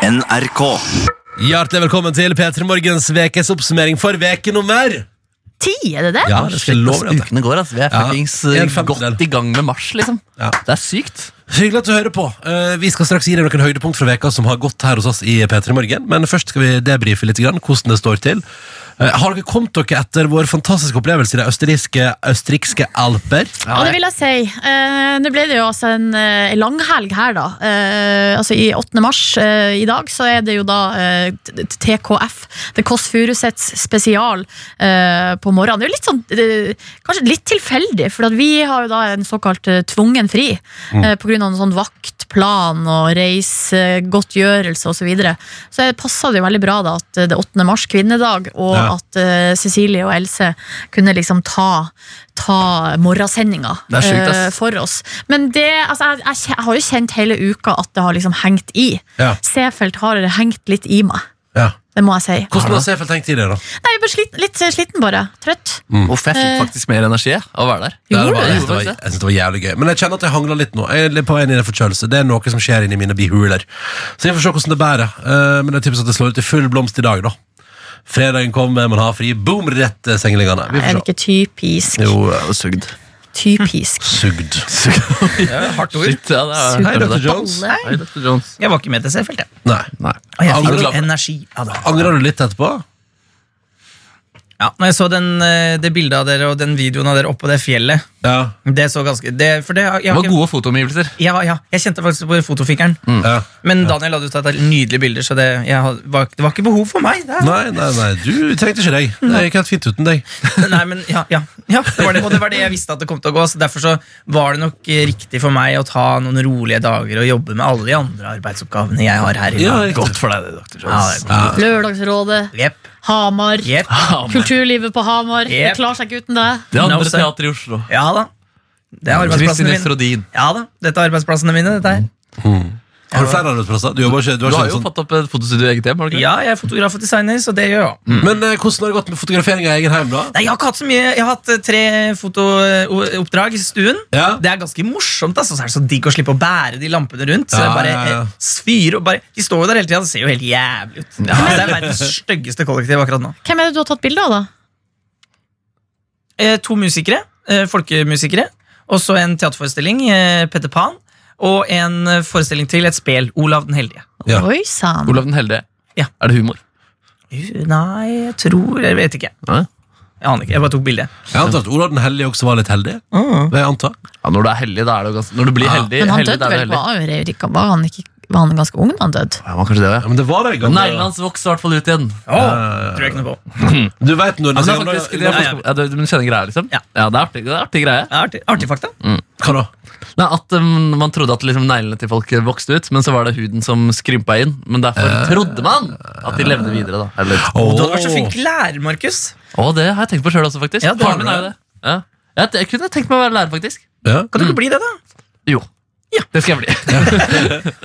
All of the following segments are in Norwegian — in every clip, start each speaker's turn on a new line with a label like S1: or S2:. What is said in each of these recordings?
S1: NRK.
S2: Hjertelig velkommen til P3 Morgens vekes oppsummering for veke nummer
S3: Ti, er det det?
S2: Ja, det skal jeg love
S4: Altså,
S2: deg.
S4: ukene går, altså. Vi er
S2: Ja,
S4: fuckings
S2: en
S4: eh,
S2: femtedel.
S4: godt i gang med mars, liksom.
S2: Ja.
S4: Det er sykt.
S2: Så Hyggelig at du hører på. Eh, vi skal straks gi deg noen høydepunkt fra veka som har gått her hos oss i P3 Morgen, men først skal vi debrife litt grann, hvordan det står til. Eh, har dere kommet dere etter vår fantastiske opplevelse i de østerrikske, østerrikske alper?
S3: Ja, det vil jeg si. Eh, nå ble det jo altså en, eh, en langhelg her, da. Eh, altså i 8. mars eh, i dag så er det jo da eh, t- t- TKF, The Kåss Furuseths spesial, eh, på morgenen. Det er jo litt sånn, eh, kanskje litt tilfeldig, for at vi har jo da en såkalt eh, tvungen fri
S2: Mm.
S3: eh, på grunn av en sånn vaktplan og reisegodtgjørelse og Så, videre. så det passet det jo veldig bra da at eh, det er 8. mars, kvinnedag, og
S2: Ja.
S3: at eh, Cecilie og Else kunne liksom ta ta morgensendinga
S4: Det er sjukt, ass.
S3: eh, for oss. Men det, altså, jeg, jeg, kje- jeg har jo kjent hele uka at det har liksom hengt i.
S2: Ja.
S3: Seefeld har hengt litt i meg.
S2: ja.
S3: Det må jeg si.
S2: Hvordan har Seefeld tenkt i det, da?
S3: Nei, jeg ble sliten, litt eh, sliten bare. Trøtt.
S4: Uff, jeg
S3: Eh,
S4: fikk faktisk mer energi jeg, av å være der.
S2: Der var
S3: Gjorde
S4: Mm,
S2: jeg
S4: det?
S2: synes det var, jeg synes det var jævlig gøy. Men jeg kjenner at jeg hangler litt nå. Jeg er litt på vei inn i en forkjølelse. Det er noe som skjer inni mine bihuler. Så jeg får se hvordan det bærer. Eh, men det er typisk at det slår ut i full blomst i dag, da. Fredagen kommer, man har fri. Boom, rett til sengelingene. Vi får
S3: Er det
S2: se.
S3: ikke typisk?
S2: Jo, eh,
S4: Og sugd.
S3: Typisk.
S2: sugd.
S5: Hardt ord.
S4: Shit, ja, det er,
S3: Sugd.
S2: Hei, Dr. Jones.
S4: Hei, Dr. Jones.
S5: Jeg var ikke med til Seefeld, jeg.
S2: Nei.
S4: Nei.
S5: Og jeg
S2: Angrer
S5: fikk
S2: du-
S5: energi av det.
S2: Angrer du litt etterpå?
S5: Ja, når jeg så den, eh, det bildet av dere og den videoen av dere oppå det fjellet
S2: Ja.
S5: Det så ganske det, for det, har-
S4: Det
S5: jeg, har
S4: var
S5: ikke-
S4: gode fotoomgivelser.
S5: ja, ja, jeg kjente faktisk på fotofingeren.
S2: Mm. ja.
S5: Men Daniel hadde jo tatt nydelige bilder, så det, jeg, had- var, det var ikke behov for meg. Det er-
S2: Nei, nei, nei. Du trengte ikke deg. Det gikk helt fint uten deg.
S5: Nei, men ja, ja, ja det var det, Og det var det jeg visste at det kom til å gå Så derfor så var det nok eh, riktig for meg Å ta noen rolige dager og jobbe med alle de andre arbeidsoppgavene jeg har her i
S2: Ja,
S5: dag
S2: riktig.
S4: Godt for deg, Dr.
S5: Ja,
S4: Jones.
S5: det er godt.
S3: Lørdagsrådet,
S5: Jepp,
S3: Hamar,
S5: jepp
S3: kulturlivet på Hamar. Det
S5: Yep.
S3: klarer seg ikke uten deg.
S4: Det
S5: No,
S4: andre
S5: sir.
S4: teatret i Oslo.
S5: Ja da, det er arbeidsplassene
S4: Kristin
S5: mine
S4: Estrodin.
S5: Ja da, dette er arbeidsplassene mine dette her.
S2: Mm. Har du flere arbeidsplasser? Du, jobber ikke, du
S4: Du
S2: har
S4: har
S2: ikke en
S4: jo
S2: sånn.
S4: fått opp et fotostudio i eget hjem. har du ikke det?
S5: Ja, jeg er fotograf og designer, så det gjør jeg også.
S2: Men eh, hvordan har det gått med fotografering av egen heim, da?
S5: Nei, jeg har ikke hatt så mye Jeg har hatt eh, tre fotooppdrag i stuen
S2: Ja.
S5: Det er ganske morsomt, altså. så er det så digg å slippe å bære de lampene rundt. Så
S2: Ja,
S5: jeg bare
S2: ja, ja.
S5: eh, sfyr og bare De står jo der hele tida, det ser jo helt jævlig ut. Det er verdens styggeste kollektiv akkurat nå.
S3: Hvem er det du har tatt bilde av, da?
S5: Eh, to musikere, eh, folkemusikere, og så en teaterforestilling, eh, Petter Pan, og en eh, forestilling til et spel, Olav den heldige.
S2: Ja.
S3: Oi sann.
S4: Olav den heldige.
S5: Ja.
S4: Er det humor?
S5: Uh, Nei, jeg tror Jeg vet ikke.
S4: Nei.
S5: Jeg aner ikke, jeg bare tok bilde.
S2: Jeg antar at Olav den hellige også var litt heldig. Det jeg antar.
S4: Ja, når du er heldig, da er det jo ganske Når du blir
S2: Ja.
S4: heldig,
S3: Men han
S4: heldig, da
S3: døde
S4: er du
S3: vel
S4: heldig.
S3: på Aurevika? Var han ikke var han ganske ung da han døde?
S4: Ja, men kanskje det,
S2: Ja, men det var det en
S4: ja.
S2: gang.
S4: Neglene hans vokser i hvert fall ut igjen.
S5: Åh, tror jeg ikke noe på.
S2: Du vet når den
S4: Ja, men det
S2: sier-
S4: er faktisk det er faktisk, ja, det, Men du kjenner greia, liksom?
S5: Ja.
S4: det er artig, det er artig greie.
S5: Ja, Artig, artig fakta.
S2: Hva da?
S4: Nei, At um, man trodde at liksom, neglene til folk vokste ut, men så var det huden som skrympa inn. Men derfor
S2: Eh.
S4: trodde man at de levde videre, da. Eller,
S5: Og Du hadde vært så flink lærer, Markus.
S4: Å, det har jeg tenkt på sjøl også, faktisk.
S5: Ja, det har
S4: Faren min
S5: du
S4: er jo det. Ja. Jeg, jeg kunne tenkt meg å være lærer, faktisk.
S2: Ja.
S5: Kan du
S4: Mm.
S5: ikke bli det, da?
S4: Jo.
S5: Ja.
S4: Det skal jeg bli.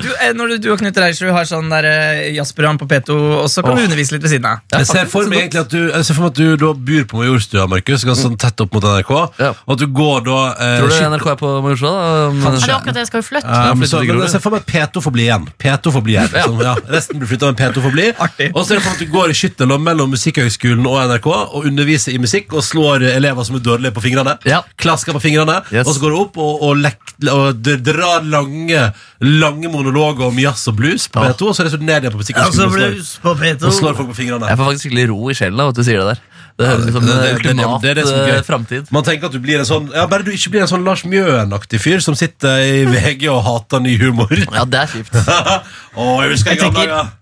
S5: Du, eh, når du, du og Knut Reiser har sånn der eh, jazzprogram på P2, og så kan du undervise litt ved siden av.
S2: Jeg ser for meg egentlig at du, jeg ser for meg at du da byr på Majorstua, Markus, ganske sånn tett opp mot NRK.
S4: Ja.
S2: Og at du går da eh,
S4: Tror du
S2: skikkelig-
S4: NRK er på Majorstua? da?
S3: Er det
S4: Men-
S3: akkurat det jeg skal jo flytte?
S2: Ja, men
S4: flytter
S2: så,
S4: Eh, til
S2: men
S4: Grorud.
S2: jeg ser for meg at P2 får bli igjen. P2 får bli igjen liksom. ja. Resten blir flytta, men P2 får bli.
S5: Artig.
S2: Og så er det for meg at du går i skytterlom mellom Musikkhøgskolen og NRK og underviser i musikk og slår elever som er dårlige på fingrene.
S4: Ja.
S2: Klasker på fingrene,
S4: Yes.
S2: og så går du opp og, og, lek, og d- drar lange Lange monologer om jazz og blues på
S4: Ja.
S2: P2, og så er det så ned igjen på Musikkhøgskolen og, slår-
S5: på
S2: og slår folk på fingrene.
S4: Jeg får faktisk skikkelig ro i sjelen av at du sier det der. Det høres ut som
S2: det- det-
S4: en
S2: det-
S4: liksom, eh, ultimat
S2: det er det som er
S4: eh,
S2: gøy.
S4: framtid.
S2: Man tenker at du blir en sånn Ja, Bare du ikke blir en sånn Lars Mjøen-aktig fyr som sitter i VG og hater ny humor. Å,
S4: Ja, det er kjipt.
S2: jeg husker jeg
S5: Jeg
S2: gamle
S5: tenker-
S2: dager.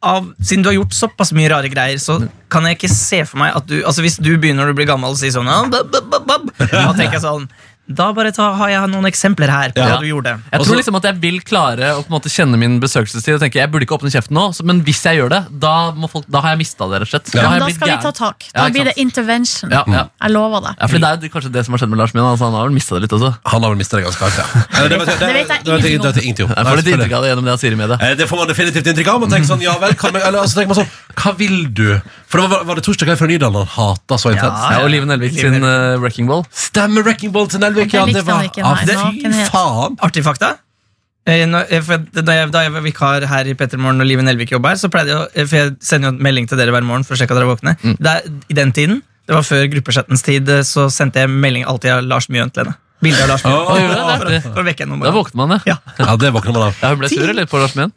S5: Av, siden du har gjort såpass mye rare greier, så
S4: Mm.
S5: kan jeg ikke se for meg at du Altså Hvis du begynner å bli gammel og si sånn «Ah, bab, bab, bab, bab», Da tenker jeg sånn Da bare ta, har jeg noen eksempler her på
S2: Ja.
S5: hva du gjorde.
S4: Jeg
S2: Også-
S4: tror liksom at jeg vil klare å på en måte kjenne min besøkelsestid. Og tenke, jeg burde ikke åpne kjeften nå, så- men hvis jeg gjør det, da, må folk, da har jeg mista det. rett og slett
S3: Ja,
S4: har
S3: men
S4: jeg
S3: da
S4: blitt
S3: skal vi ta
S4: gæren.
S3: tak.
S4: Ja,
S3: Da
S4: ikke
S3: blir det
S4: sant?
S3: intervention.
S4: Ja, ja.
S3: Jeg lover det.
S4: ja, for Det er jo kanskje det som har skjedd med Lars Min. Altså, han har vel mista det litt også.
S2: Han har vel mista det ganske hardt, ja. Eller, Det, vet-
S3: Det vet jeg
S2: det vet
S3: ingenting om.
S2: det vet jeg ingenting om.
S4: Jeg
S2: Nei,
S4: får litt
S2: selvfølgelig.
S4: inntrykk av det gjennom det han sier i media.
S2: Eh, Det får man definitivt inntrykk av. Man tenker sånn, ja vel, kan man, eller, altså, tenker man sånn, Hva vil du? For det var, var det torsdag kveld fra Nydalen han hata så intenst.
S4: Ja, og Live Nelvik sin eh, Wrecking Ball.
S2: Stemmer Wrecking Ball til Nelvik!
S3: Det
S2: Ja, det
S3: likte
S2: var
S3: han ikke, nei,
S2: Ah, Fy
S3: nakenhet.
S2: faen!
S5: Artig fakta? Eh, når- eh, for jeg- Da jeg, da jeg var vikar her i Pettermorgen og Live Nelvik jobba her, så pleide jeg å eh, For jeg sender jo en melding til dere hver morgen for å sjekke at dere er våkne. Der, I den tiden, det var før gruppechattens tid, eh, så sendte jeg melding alltid av Lars Mjøen til henne. Bilde av Lars Mjøen.
S2: Å,
S4: gjorde du det?
S5: for, for å vekke henne om
S4: Da
S5: morgenen.
S4: våkner man, ja.
S5: Ja.
S2: Ja, det våkner man av.
S4: ja hun ble sur, eller? På Lars Mjøen?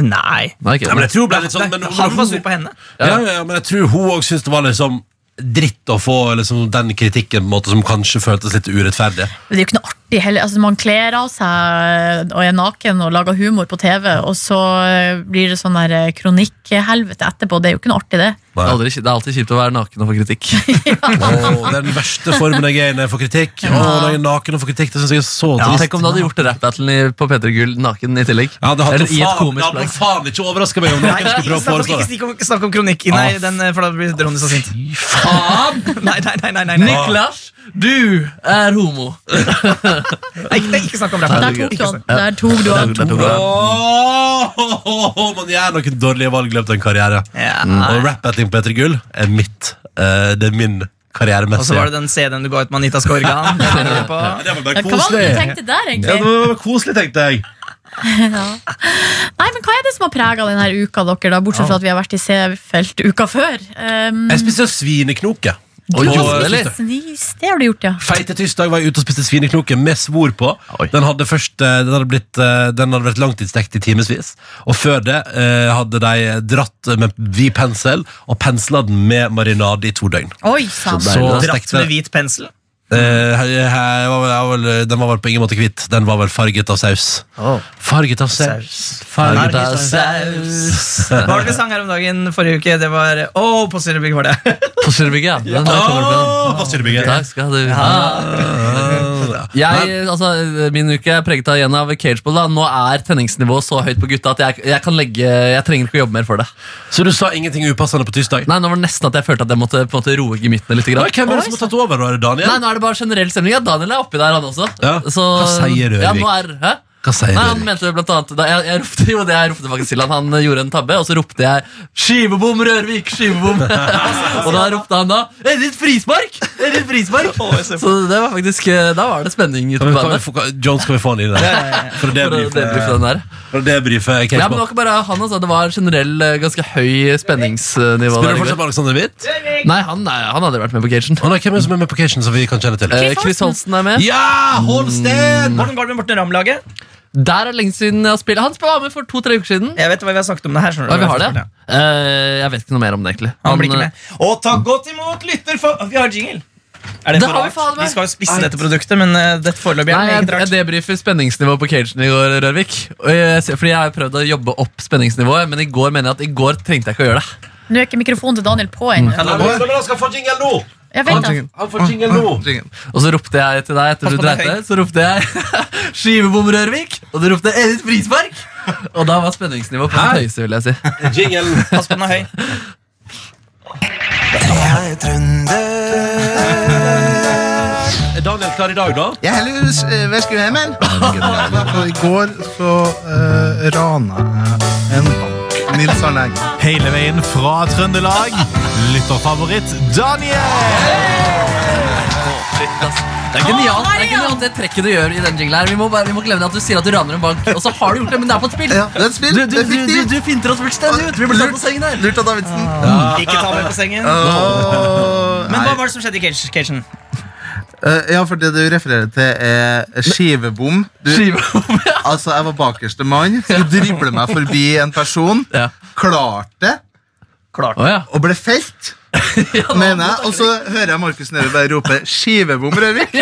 S5: Nei.
S4: Nei, ikke.
S2: Ja, men jeg tror det ble litt sånn, men,
S5: Nei, Han var sur på henne.
S2: ja, ja, men jeg tror hun òg syntes det var liksom dritt å få liksom, den kritikken på en måte, som kanskje føltes litt urettferdig.
S3: Men det er jo ikke noe artig heller. Altså, man kler av seg eh, og er naken og lager humor på TV, og så eh, blir det sånn der eh, kronikkhelvete etterpå. Det er jo ikke noe artig, det.
S4: Det er aldri- det er alltid kjipt å være naken og få kritikk.
S2: Åh, den verste formen jeg er i når jeg får kritikk. Åh, når jeg er naken og får kritikk, det synes jeg er så
S4: Ja,
S2: trist.
S4: Tenk om du hadde gjort rap-battlen i- på P3 Gull naken i tillegg.
S2: Ja, det hadde
S4: Eller i et
S2: faen, det
S4: komisk
S2: hadde
S4: plagg.
S2: faen ikke overraska meg om
S5: Nei,
S2: noen
S5: ikke,
S2: skulle prøve å
S5: snakk om,
S2: foreslå
S5: ikke
S2: det.
S5: snakk om, snakk om kronikk. Nei,
S2: Ah.
S5: den, eh, for da blir Ronny så sint.
S2: Fy faen!
S5: Nei, nei, nei, nei, nei, nei.
S4: Niklas, du er homo.
S5: Nei, ikke, ikke snakk om
S4: Nei,
S3: Der
S5: rappen.
S4: det
S3: tok
S4: er
S3: du
S5: Ikke
S3: han. Der tok du han.
S2: Åh, man gjør noen dårlige valg i løpet av en karriere.
S5: snakk- Ja.
S2: Og rap-battling på Etter Gull er mitt. eh, det er min
S5: Og så var
S2: karrieremessige.
S5: det den CD-en du ga ut med Anita Skorgan. Den hører du på.
S2: Det var bare
S3: Ja, Hva var det du
S2: koselig.
S3: tenkte
S2: Ja,
S3: der,
S2: det
S3: egentlig?
S2: var koselig, tenkte jeg.
S3: Nei, men Hva er det som har prega denne uka, dere, da, bortsett fra at vi har vært i Seefeld uka før? Um,
S2: Jeg spiste svineknoke.
S4: Oi,
S2: På,
S4: gjorde du det,
S2: eh,
S4: eller?
S2: tirsdag.
S3: Snis, det har du gjort, ja.
S2: Feite tirsdag var jeg ute og spiste svineknoke med svor på.
S4: Oi.
S2: Den hadde, først, eh, den hadde, blitt, eh, den hadde vært langtidsstekt i timevis. Og før det eh, hadde de dratt med vid pensel og pensla den med marinade i to døgn.
S3: Oi sann.
S2: Så
S5: Dratt
S2: stekte
S5: med hvit pensel.
S2: Eh, her- her var vel- jeg var vel- Den var vel på ingen måte kvitt. Den var vel farget av saus. Farget av saus.
S5: Saus.
S2: Farget av
S4: Farget av saus.
S5: Hva var det vi sang her om dagen forrige uke? Det var Å, på Syreby var det.
S4: På Syrbyge, ja. Den der kommer det fra.
S2: Åh, hva sier du, Birgit?
S4: Takk skal du ha. Jeg, altså, min uke er preget av igjen av cageball. Da. Nå er tenningsnivået så høyt på gutta at jeg, jeg, kan legge, jeg trenger ikke å jobbe mer for det.
S2: Så du sa ingenting upassende på tirsdag?
S4: Nei, Nå var det nesten at jeg følte at jeg måtte på en måte roe gemyttene litt.
S2: Ja,
S4: Grann.
S2: Hvem er det som har tatt over? da? Er det Daniel?
S4: Nei, nå er det bare generell stemning. Ja, Daniel er oppi der, han også.
S2: Ja. Hva sier du,
S4: ja,
S2: Erik?
S4: nå er, hæ?
S2: Hva sier
S4: Nei,
S2: du,
S4: han
S2: Erik?
S4: mente blant annet da, jeg, jeg ropte jo det jeg ropte faktisk til han Han eh, gjorde en tabbe, og så ropte jeg 'Skivebom, Rørvik! Skivebom!' og da ropte han da 'Er det et frispark?' Er det et frispark? så det var faktisk eh, Da var det spenning ute
S2: Kan vi,
S4: på
S2: kan vi
S4: banen.
S2: få, kan- Jones, kan vi få han inn der? For å
S4: For å debrife
S2: debrife
S4: den der.
S2: for å debrife
S4: Ja, men Det
S2: cageball.
S4: var ikke bare han altså. Det var generell eh, ganske høy spenningsnivå.
S2: Spiller du
S4: der i
S2: fortsatt
S4: går.
S2: med Alexander Hvitt?
S4: Nei, han, nei, han hadde vært med på cagen.
S2: Å nei, Hvem er det som er med på Cation som vi kan kjenne til?
S4: Eh, Chris Holsten er med.
S2: Ja! Holsten!
S5: Hvordan går det med Morten Ramm-laget?
S4: Der er lenge siden jeg har spilt Han var med for to-tre uker siden.
S5: Jeg vet hva vi har snakket om det her. skjønner du.
S4: Ja, vi har det. Eh, jeg vet ikke noe mer om det, egentlig.
S5: Han blir ikke
S4: eh,
S5: med. Og ta godt imot lytter for Vi har jingle! Er det
S4: Det
S5: for
S4: har vi
S5: rart?
S4: faen meg.
S5: Vi skal jo spisse dette produktet, men eh, dette foreløpig er
S4: Nei, jeg, jeg
S5: meget rart.
S4: debrifer spenningsnivået på cagen i går, Rørvik. Og jeg, ser- fordi jeg har prøvd å jobbe opp spenningsnivået, men i går mener jeg at i går trengte jeg ikke å gjøre det.
S3: Nå er ikke mikrofonen til Daniel på ennå.
S4: Mm.
S2: Han skal få jingle nå!
S3: Ja, vent da.
S2: Han får jingle nå!
S4: Og så ropte jeg til deg etter du
S5: Pass på deg,
S4: dreit deg, så ropte jeg 'Skivebom Rørvik', og du ropte 'Edith Frispark'! Og da var spenningsnivået på sitt høyeste, vil jeg si.
S2: Jingle.
S5: Pass på den er høy.
S1: Jeg er trønder.
S2: Daniel, hva er det i dag, da?
S1: Jeg er heller eh, Vestgøyheimen. I går så uh, rana jeg en bank. Nils Arne Eggen.
S6: Hele veien fra Trøndelag, lytterfavoritt Daniel!
S4: Det er genialt det er genialt det trekket du gjør i den jinglen her. Vi må, bare, vi må glemme det at du sier at du raner en bank, og så har du gjort det, men det er på et spill.
S1: Ja, det er et spill.
S4: Du, du,
S1: Det er
S4: du, du,
S1: fiktivt.
S4: du finter oss fullstendig ut. Vi blir tatt på sengen her.
S1: Lurt av Davidsen.
S5: Ikke ta meg på sengen.
S1: Ah. Åh,
S5: Men
S1: nei.
S5: hva var det som skjedde i cage- cagen?
S1: Eh, ja, for det du refererer til, er skivebom. Du,
S4: Skivebom, ja.
S1: altså, jeg var bakerste mann. Skulle drible meg forbi en person.
S4: Ja.
S1: Klarte
S5: Klart.
S4: Å ja.
S1: og ble felt. Mener jeg, Og så hører jeg Markus Nehru bare rope 'skivebom, Røvik'.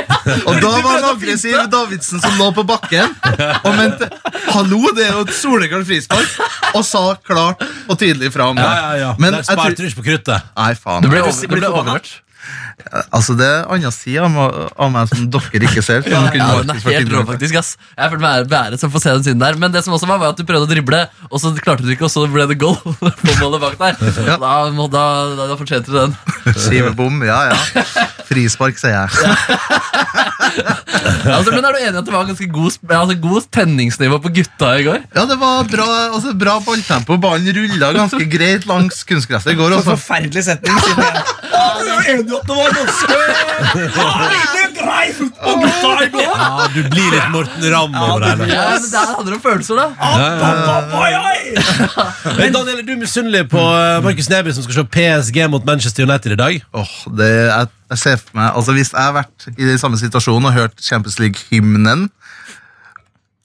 S1: Og da var han aggressiv Davidsen som lå på bakken og mente 'hallo, det er jo et soleklart frispark', og sa klart og tydelig fra om det.
S2: Ja, ja, ja.
S1: Men
S2: Der
S1: jeg tror-
S2: sparte du ikke på kruttet.
S1: Nei,
S4: Du
S1: faen.
S4: ble, over, du ble overhørt.
S1: Altså, det er annen side av meg- av meg som dere ikke ser. som kunne
S4: Ja, den er
S1: Markus vært
S4: helt rå,
S1: inne på.
S4: faktisk. ass Jeg har følt meg ære- beæret som får se den siden der. Men det som også var, var at du prøvde å drible, og så klarte du ikke, og så ble det goal. på målet bak der
S1: Ja.
S4: Da, må- da, da, da fortjente du den.
S1: Skivebom, ja, ja. Frispark, sier jeg.
S4: altså, men er du enig i at det var ganske god, sp- altså, god tenningsnivå på gutta i går?
S1: Ja, det var bra, altså, bra balltempo. Ballen rulla ganske greit langs kunstgresset i går.
S5: For
S1: altså. Også.
S5: forferdelig setning. Siden jeg.
S2: Ja, Ah, du blir litt Morten Ramm over det hele.
S4: Ja, men Det her handler om følelser, da.
S2: Men Daniel, er du misunnelig på eh, Markus Neby som skal se PSG mot Manchester United i dag?
S1: Åh, det, jeg, jeg ser for meg, altså Hvis jeg har vært i den samme situasjonen og hørt Champions League-hymnen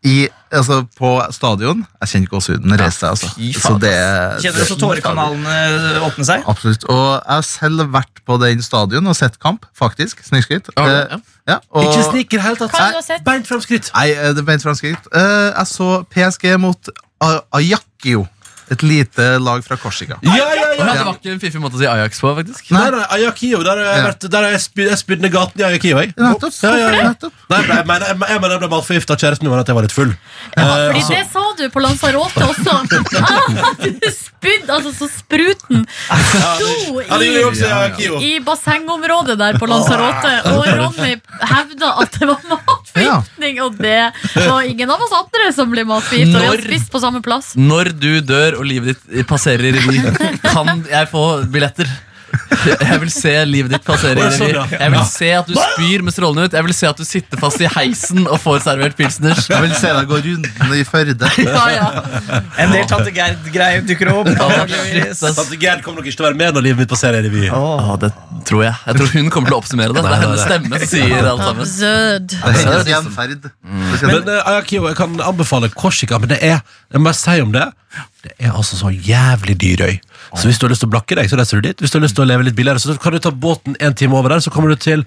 S1: i, altså, på stadion Jeg kjenner gåsehuden reise seg.
S4: fy
S1: Altså.
S4: faen,
S1: Så det,
S5: Kjenner også tårekanalene åpne seg.
S1: Absolutt. Og jeg har selv vært på den stadion og sett kamp, faktisk. Snikskritt.
S4: Har du?
S1: Eh, ja, og-
S2: Ikke sniker i det hele tatt.
S3: Hva har du sett?
S2: Beint framskritt.
S1: Nei, eh, det ble et framskritt. Eh, Jeg så PSG mot A- Ajaccio. Et lite lag fra Korsika.
S2: Ja, ja,
S4: Og
S2: ja.
S4: Det var ikke en fiffig måte å si Ajax på, faktisk.
S2: Nei, nei, Ayakio, der har jeg,
S1: Ja.
S2: vært, der har jeg, spyd, jeg spydde ned gaten i Ayakio. Jeg.
S1: Nettopp.
S2: Ja, ja, ja.
S1: Nettopp.
S2: Nei, jeg, jeg, mener- jeg, mener jeg ble matforgifta av kjæresten min var at jeg var litt full.
S3: Ja, fordi
S2: Altså-
S3: det sa du på Lanzarote også. Ah, du spydde altså så spruten sto
S2: Ja, det gjorde jeg
S3: i
S2: også i Ayakio.
S3: i bassengområdet der på Lanzarote, og
S2: Ah.
S3: Ronny hevda at det var matforgiftning, og det var ingen av oss andre som ble matforgiftet, og vi
S4: Når-
S3: hadde spist på samme plass.
S4: Når du dør og livet ditt passerer i revy, kan jeg få billetter? Jeg vil se livet ditt passere i
S2: Å, sånn,
S4: revy.
S2: ja.
S4: Jeg vil se at du spyr med strålene ut. Jeg vil se at du sitter fast i heisen og får servert pilsners.
S1: Jeg vil se deg gå runden i Førde.
S4: Ja, ja.
S5: En del Tante Gerd-greier dukker opp. antageligvis.
S4: Shit, ass.
S2: Tante Gerd kommer nok ikke til å være med når livet mitt passerer i revy.
S4: Å, det tror jeg. Jeg tror hun kommer til å oppsummere det. Det er hennes stemme som sier alt sammen.
S3: Absurd.
S1: Det er hennes
S4: det er liksom-
S1: gjenferd.
S2: Men eh, Ayakio, jeg kan anbefale Korsika, men det er jeg må si om det Det er altså så jævlig dyr øy. Så hvis du har lyst til å blakke deg, så reiser du dit. Hvis du har lyst til å leve litt billigere, så kan du ta båten en time over der, så kommer du til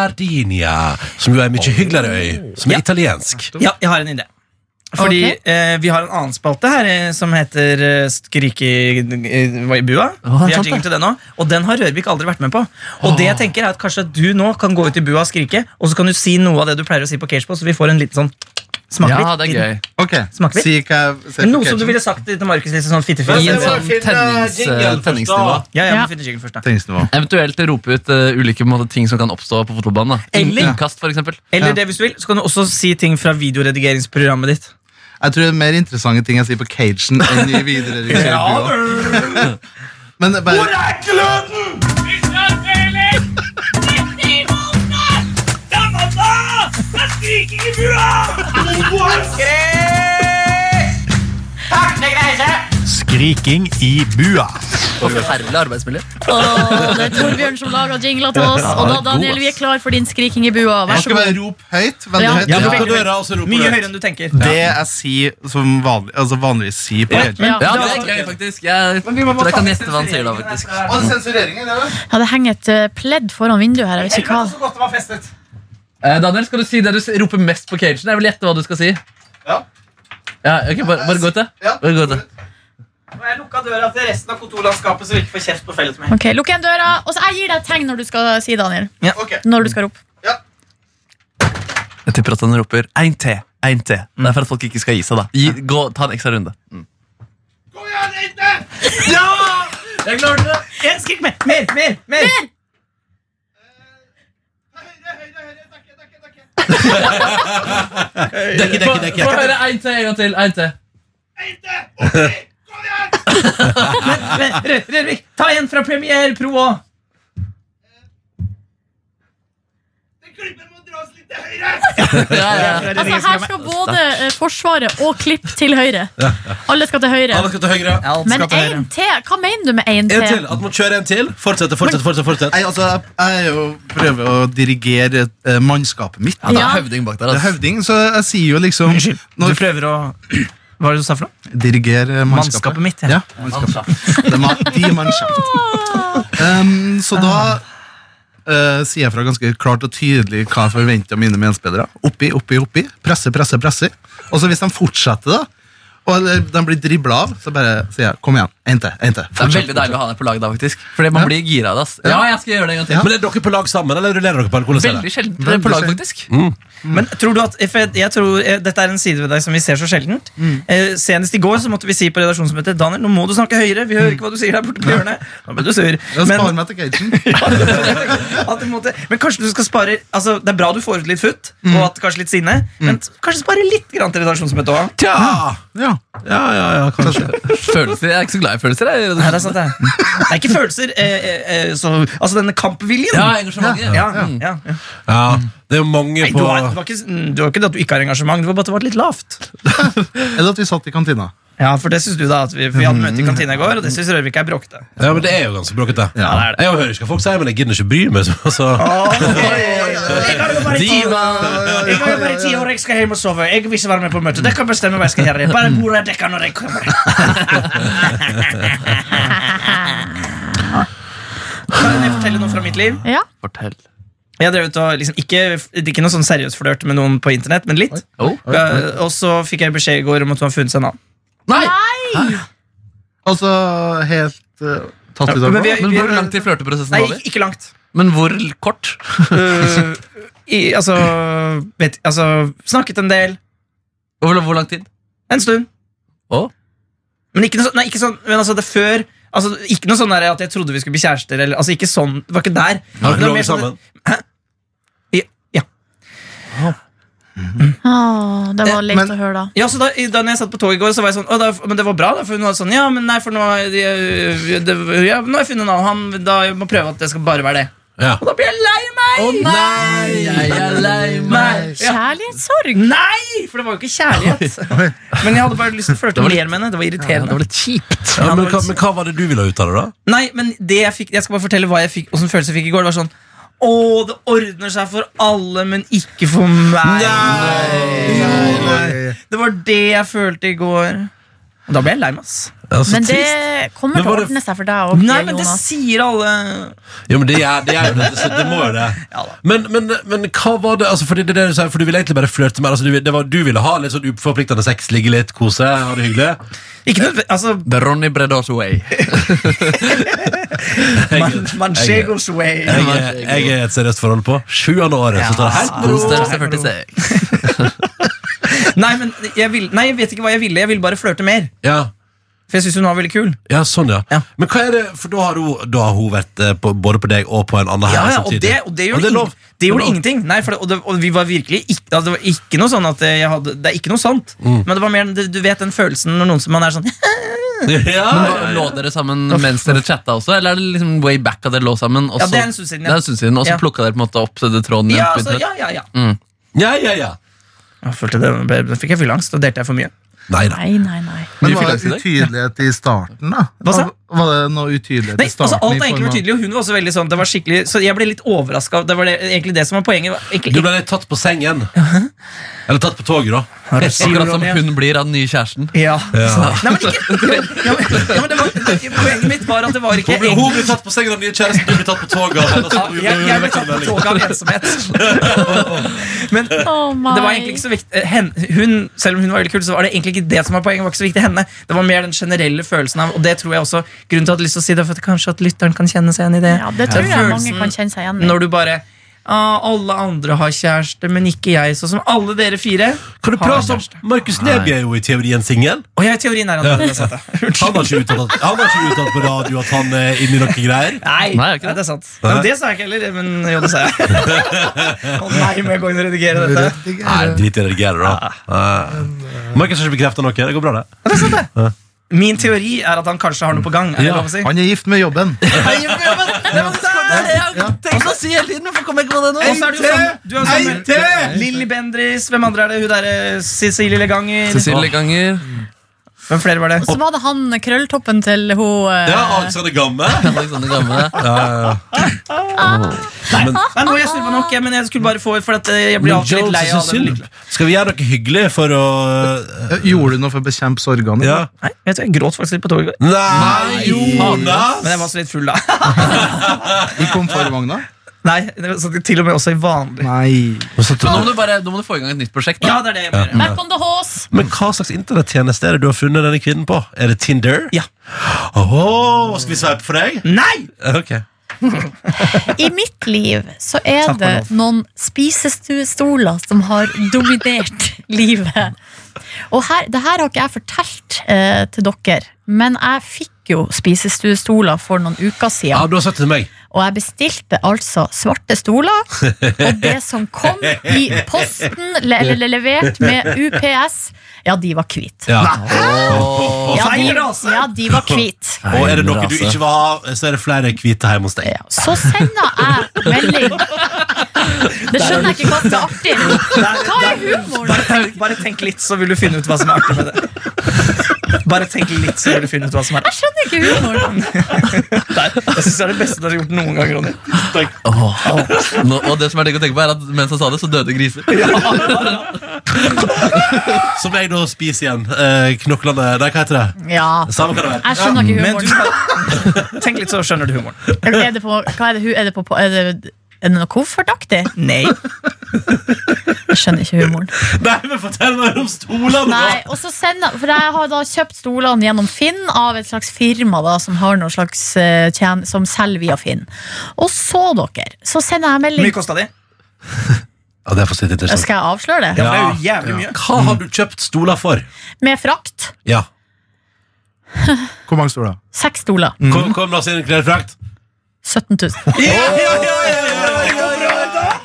S2: Sardinia, som jo er en mye hyggeligere øy, som er italiensk.
S5: Ja, jeg har en idé. Fordi
S3: Ok.
S5: eh, vi har en annen spalte her eh, som heter eh, Skrik i, i, hva i bua.
S4: Å, det
S5: vi
S4: er
S5: har
S4: sant,
S5: jingle
S4: det.
S5: til det nå, Og den har Rørvik aldri vært med på. Og det jeg tenker er at Kanskje du nå kan gå ut i bua og skrike, og så kan du si noe av det du pleier å si på Cagebo, så vi får en liten sånn smak
S4: Ja,
S5: litt.
S4: det er
S5: liten-
S4: gøy.
S1: Ok,
S5: Smaker litt.
S1: si hva jeg ser på
S5: Noe som du
S1: catchen.
S5: ville sagt til Markus. Litt
S4: I
S5: sånn
S4: en
S5: fittefjes.
S4: sånn tennings, tenningsnivå.
S5: Ja, ja,
S3: Ja.
S5: vi finner jingle først da.
S1: Tenningsnivå.
S4: Eventuelt rope ut eh, ulike på en måte, ting som kan oppstå på fotballbanen. da. In-
S5: Eller-
S4: Innkast, for eksempel.
S5: Eller
S1: Ja.
S5: det hvis du vil, så kan du også si ting fra videoredigeringsprogrammet ditt.
S1: Jeg tror det er mer interessante ting jeg sier på cagen enn i videre redigeringsbyrå. Men det er bare,
S6: Skriking i bua.
S4: Forferdelig arbeidsmiljø.
S3: Åh, det er Torbjørn som laga jingler til oss. Og da, Daniel, vi er klar for din skriking i bua.
S1: man
S3: Vær så
S1: skal bare
S3: god.
S1: rope høyt. Veldig
S3: Ja.
S1: høyt.
S5: Ja,
S2: Lukk døra, og så roper
S5: Mye
S2: du.
S5: høyere enn du tenker.
S1: Det jeg sier som vanlig, altså vanligvis sier på cagen.
S3: Ja,
S4: Ja, det
S5: det
S4: er gøy, faktisk. Jeg, så jeg kan gjette hva han sier da, faktisk.
S1: Og sensureringer, det vel?
S3: ja, det henger et eh, pledd foran vinduet her. Jeg vet ikke hva.
S4: Eh, Daniel, skal du si det du s- roper mest på cagen? Jeg vil gjette hva du skal si.
S1: Ja.
S4: Ja, ok, bare, bare gå ut det.
S1: Ja.
S4: Bare gå ut det.
S5: Jeg lukka døra til resten av kontorlandskapet, så vi ikke får kjeft på felles med.
S3: Ok, Lukk igjen døra. Og så jeg gir deg et tegn når du skal si Daniel.
S1: Ok.
S3: Når du skal rope.
S4: Jeg tipper at han roper 'én til', 'én til'. Det er for at folk ikke skal gi seg, da. Gi, gå, ta en ekstra runde. Gå igjen, Ja! Jeg klarte det!
S5: Skrik mer! Mer! Mer! mer.
S2: Dekke, dekke, dekke.
S4: Få høre en til en gang til. En til.
S5: Men, Rø- Rørvik, ta en fra Premier Pro òg!
S4: Ja, ja.
S3: Altså, her skal både eh, Forsvaret og Klipp til høyre. Alle skal til høyre.
S2: Alle skal til høyre.
S3: Men én T? Hva mener du med én
S2: En til.
S3: T?
S2: At man kjører en til. Fortsette, fortsette, fortsette. fortsette.
S1: Nei, altså, jeg, jeg er jo prøver å dirigere eh, mannskapet mitt.
S4: Ja, det er
S3: Ja.
S4: høvding bak der.
S1: Det er
S4: Altså.
S1: høvding, så jeg sier jo liksom
S5: Du
S1: når
S5: prøver å Hva var det du sa for noe?
S1: Dirigere mannskapet.
S5: Mannskapet mitt.
S1: Ja, mannskapet. Det er ma- De mannskapet. Um, så da eh, sier jeg fra ganske klart og tydelig hva jeg forventer av mine medspillere. Oppi, oppi, oppi. Presse, presse, presse. Og så hvis de fortsetter, da, og eller de blir dribla av, så bare sier jeg kom igjen. En til. En til.
S4: Det er
S1: Fortsett,
S4: veldig deilig å ha deg på lag da, faktisk. Fordi man
S1: Ja.
S4: blir gira av det. ass. Ja, jeg skal gjøre det en gang til.
S1: Ja.
S2: Men er dere på lag sammen, eller rullerer dere på en kolosseum?
S4: Veldig sjelden dere er på
S1: Veldig
S4: lag,
S1: sjelden.
S4: faktisk.
S5: Men tror du at for jeg, jeg tror, eh, Dette er en side ved deg som vi ser så sjeldent. Eh, senest i går så måtte vi si på redaksjonsmøtet Daniel, nå må du snakke høyere. Vi hører ikke hva du sier der borte på hjørnet. Da ble du sur.
S1: Jeg sparer
S5: Men,
S1: meg til cagen.
S5: at du måtte, men kanskje du skal spare altså, Det er bra du får ut litt futt, og at, kanskje litt sinne, men kanskje spare litt grann til redaksjonsmøtet òg.
S2: Tja!
S1: Ja.
S2: Ja, ja, ja, kanskje.
S4: Følelser, Jeg er ikke så glad i følelser. Jeg.
S5: Nei, det er sant, det. Det er ikke følelser. Eh, eh, eh, så, altså denne kampviljen.
S4: Ja, engasjementet.
S5: ja, ja, ja.
S2: Ja, det er jo mange
S5: Mm. Nei, du
S2: på
S5: har, det, var ikke, det var ikke det at du ikke har engasjement, det var bare at det var litt lavt.
S1: Eller at vi satt i kantina.
S5: Ja, for det synes du da at vi, vi hadde møte i kantina i går, og det syns Rørvik er bråkete.
S2: Ja, men det er jo ganske bråkete.
S1: Ja, det er
S2: Jeg hører ikke hva folk sier, men jeg gidder ikke bry meg. Så, så.
S5: Jeg har jo bare ti- jeg har jo bare ti år, jeg skal hjem og sove. Jeg vil ikke være med på møte. Dere kan bestemme hva jeg skal gjøre. Bare bordet dekka når jeg kommer. Kan jeg fortelle noe fra mitt liv?
S3: Ja.
S4: Fortell.
S5: Jeg har drevet og liksom ikke, ikke noe sånn seriøs flørt med noen på internett, men litt.
S4: Oh.
S5: Ja, Og så fikk jeg beskjed i går om at hun har funnet seg en annen.
S4: Nei!
S1: Altså helt eh, tatt i dag.
S5: Men vi-
S4: Men hvor langt i flørteprosessen
S5: Nei,
S4: var vi?
S5: ikke- ikke langt.
S4: Men hvor kort?
S5: Øh, i, altså, vet, altså Snakket en del.
S4: Og Hvor, hvor lang tid?
S5: En stund.
S4: Å?
S5: Men ikke, noe sånn- nei, ikke sånn Men altså, det er før Altså, ikke noe sånn der at jeg trodde vi skulle bli kjærester. Eller, altså, ikke sånn, det var ikke der.
S2: Har
S5: Det
S2: dere
S5: var mer
S2: ligget
S5: sånn,
S2: sammen?
S3: Åh, det var
S1: Eh,
S3: leit
S1: men-
S3: å høre, da.
S5: ja, så da, i- da når jeg satt på toget i går, så var jeg sånn Å, da, men det var bra, da. For hun var sånn Ja, men nei, for nå er det, det, ja, Nå har jeg funnet en annen. Han, da jeg må prøve at det skal bare være det.
S2: Ja.
S5: Og da blir jeg lei meg!
S4: nei! Jeg er lei meg.
S5: Ja.
S3: Kjærlighetssorg.
S5: Nei! For det var jo ikke kjærlighet. Men jeg hadde bare lyst til å flørte mer med henne. Det var
S4: Ja, det
S5: irriterende.
S4: var litt kjipt.
S2: Ja, men, hva, men hva var det du ville ha ut av det, da?
S5: Nei, men det jeg fikk Jeg skal bare fortelle hva jeg fikk åssen følelse jeg fikk i går. Det var sånn Å, det ordner seg for alle, men ikke for meg. Det var det jeg følte i går. Og da ble jeg lei meg, ass.
S2: Ja, så
S3: Men det
S2: trist.
S3: kommer
S2: Men
S3: til å
S2: var det-
S3: ordne seg for deg òg,
S5: Nei, men det
S3: Jonas.
S5: sier alle.
S2: Jo, men det gjør det, gjør jo det, så det må jo det.
S5: Ja da.
S2: Men, men, men hva var det altså, fordi det, er det du sier, For du ville egentlig bare flørte mer. Altså, du, vil- det var, du ville ha litt sånn uforpliktende sex, ligge litt, kose, ha det hyggelig.
S5: Ikke noe Altså,
S4: The Ronny Bredas way.
S2: Jeg,
S5: Manchegos way.
S2: jeg, jeg, jeg er i et seriøst forhold på sjuende året, så tar det helt med ro.
S4: God størrelse 46.
S5: Nei, men jeg, vil, nei, jeg vet ikke hva jeg ville. Jeg ville bare flørte mer.
S2: Ja,
S5: For jeg syns hun var veldig kul.
S2: ja, sånn, ja.
S5: Ja.
S2: Men hva er det For da har hun, da har hun vært eh, på, både på deg og på en annen her
S5: Ja, ja, og
S2: samtidig.
S5: det, og det gjorde,
S2: er lov.
S5: ing- det gjorde
S2: er lov.
S5: ingenting. Nei, for det, og, det, og vi var virkelig ikke, altså, det var ikke noe sånn at jeg hadde Det er ikke noe sant. Men det var mer, du, du vet den følelsen når noen som man er sånn
S2: Ja, ja,
S4: Lå
S2: ja.
S4: dere sammen mens dere chatta også, eller er det liksom way back at dere lå sammen? Og
S5: Ja,
S4: så-
S5: det er en stund siden, ja.
S4: Det er en stund siden, Og så
S5: Ja.
S4: plukka dere på en måte opp det tråden igjen
S5: Ja,
S4: på
S5: altså,
S4: internett?
S5: ja, ja, ja.
S2: ja, ja, ja.
S5: Jeg følte det, da fikk jeg fylleangst. Da delte jeg for mye.
S2: Nei da.
S3: Nei, nei, nei.
S1: Men
S4: Mye
S1: var
S4: finans i
S1: det
S4: dag?
S1: utydelighet i starten, da?
S5: Hva sa jeg?
S1: Var det noe utydelighet
S5: Nei,
S1: i
S5: altså,
S1: starten?
S5: alt
S1: i
S5: er egentlig
S1: form av-
S5: vært tydelig, og hun var også veldig sånn. Det var skikkelig Så jeg ble litt overraska. Det var det, egentlig det som var poenget. Var,
S2: Du
S5: egentlig,
S2: ble litt tatt på sengen. Eller tatt på toget, da.
S5: Har du sier,
S4: Akkurat som
S5: Ronny?
S4: hun blir av den nye kjæresten.
S5: ja. Nei, men ikke ja, men, ja, men det var, Poenget mitt var at det var ikke
S2: Hun blir, hun blir tatt på sengen av den nye kjæresten, du blir tatt på toget. av henne,
S5: ja,
S2: så du-
S5: jeg, jeg ble
S2: du- du-
S5: tatt på
S2: du-
S5: toget av ensomhet. Men
S3: Oh my.
S5: Det var egentlig ikke så viktig eh, hen, hun, Selv om hun var veldig kul, så var det egentlig ikke det som var poenget. Det var ikke så viktig henne Det var mer den generelle følelsen av Og det tror jeg også Grunnen til at jeg hadde lyst til å si det, er for at kanskje at lytteren kan kjenne seg igjen i det.
S3: Ja, det tror
S5: Den
S3: jeg mange
S5: følelsen
S3: kan kjenne seg igjen i.
S5: Når du bare «Ah, alle andre har kjæreste, men ikke jeg, sånn som alle dere fire.
S2: Kan du prate om Markus Neby er jo i teorien singel.
S5: Og jeg i teorien er at dere har sett det.
S2: Han har ikke uttalt, han har ikke uttalt på radio at han eh, er inne i noen greier.
S5: Nei,
S4: Nei, er ikke det?
S5: det. er sant. Ja, men det sa jeg ikke heller, men jo, det sa jeg. Å nei, må jeg gå inn og redigere dette?
S2: Nei, drit i å redigere, da. Ja. Markus har ikke bekrefta noe. Det går bra, det.
S5: Min teori er at han kanskje har noe på gang. Er det
S2: Ja.
S5: lov å si?
S1: Han er gift med jobben.
S4: Tenk å si hele tiden, hvorfor kommer jeg ikke på det nå?
S5: Og så er det jo sammen, du er jo sammen med Lilly Bendris, hvem andre er det? Hun derre Cecilie Leganger.
S4: Cecilie Ganger.
S5: Hvem flere var det?
S3: Så var det han krølltoppen til hun eh,
S2: Ja, Alexander Gamme.
S4: Alexander Gamme.
S2: Ja, ja, ja. Men,
S5: Nei, nå er jeg surva nok, jeg, men jeg skulle bare få for at eh, jeg blir
S2: men
S5: alltid litt lei
S2: Jones
S5: av den.
S2: synd. Skal vi gjøre noe hyggelig for å
S1: Ja, Eh, Gjorde du noe for å bekjempe sorgene?
S2: Ja.
S5: Nei, vet du, jeg gråt faktisk litt på toget i går.
S2: Nei,
S5: Men
S2: Jonas!
S5: jeg var så litt full, da.
S1: I komfarvogna?
S5: Nei, det var sånn- Til og med også i vanlig.
S1: Nei.
S4: Nå må, du bare, nå må du få i gang et nytt prosjekt.
S5: Ja,
S4: Da.
S5: det er det jeg må gjøre.
S3: Back on the horse!
S2: Men hva slags internettjeneste er det du har funnet denne kvinnen på? Er det Tinder?
S5: Ja.
S2: Åh, skal vi sveipe for deg?
S5: Nei!
S2: Ok
S3: I mitt liv så er
S5: Takk,
S3: det
S5: Arnulf.
S3: noen spisestoler som har dominert livet. Og her, det her har ikke jeg fortalt eh, til dere, men jeg fikk jo spisestuestoler for noen uker
S2: Ja,
S3: siden.
S2: du har sagt det til meg.
S3: Og jeg bestilte altså svarte stoler, og det som kom i posten, le- eller le- levert med UPS, ja, de var hvite.
S2: Ja.
S3: Ja,
S5: feil altså!
S3: de,
S5: rase!
S3: ja, de var hvite.
S2: Og er det noe du
S4: Nei, altså.
S2: ikke vil ha, så er det flere hvite hjemme hos deg.
S3: Ja, Så sender jeg melding. Det skjønner jeg ikke hva som er artig. Hva er humoren?
S5: Tenk, bare tenk litt, så vil du finne ut hva som er artig med det. Bare tenk litt, så vil du finne ut hva som er
S3: Jeg skjønner ikke humoren.
S5: der. Jeg synes det er det beste du har gjort noen gang, Ronny.
S4: Åh. Nå, og det som er digg å tenke på, er at mens han sa det, så døde griser.
S2: Som jeg da spiser igjen. Eh, knoklene Nei, hva heter det?
S3: Ja,
S2: Samme kan det være.
S3: jeg skjønner ikke
S5: Men
S3: humoren.
S5: du- tenk litt, så skjønner du humoren.
S3: Er det på, hva er det, hu- er det, på, på- er det, er det noe koffertaktig?
S5: Nei.
S3: Jeg skjønner ikke humoren.
S2: Nei, men fortell meg om stolene! da!
S3: Nei, og så sender, for jeg har da kjøpt stolene gjennom Finn av et slags firma da, som, har noe slags, eh, tjen, som selger via Finn. Og så, dere, så sender jeg
S5: Hvor mye
S3: melding.
S5: kosta de?
S2: Ja, det er for sitt interessant.
S3: Skal jeg avsløre det?
S5: Ja, for det er jo jævlig mye.
S2: Hva har du kjøpt stoler for?
S3: Med frakt.
S2: Ja.
S1: Hvor mange stoler?
S3: Seks stoler.
S2: Kom, kom, la oss inn i klærfrakt.
S3: 17 000.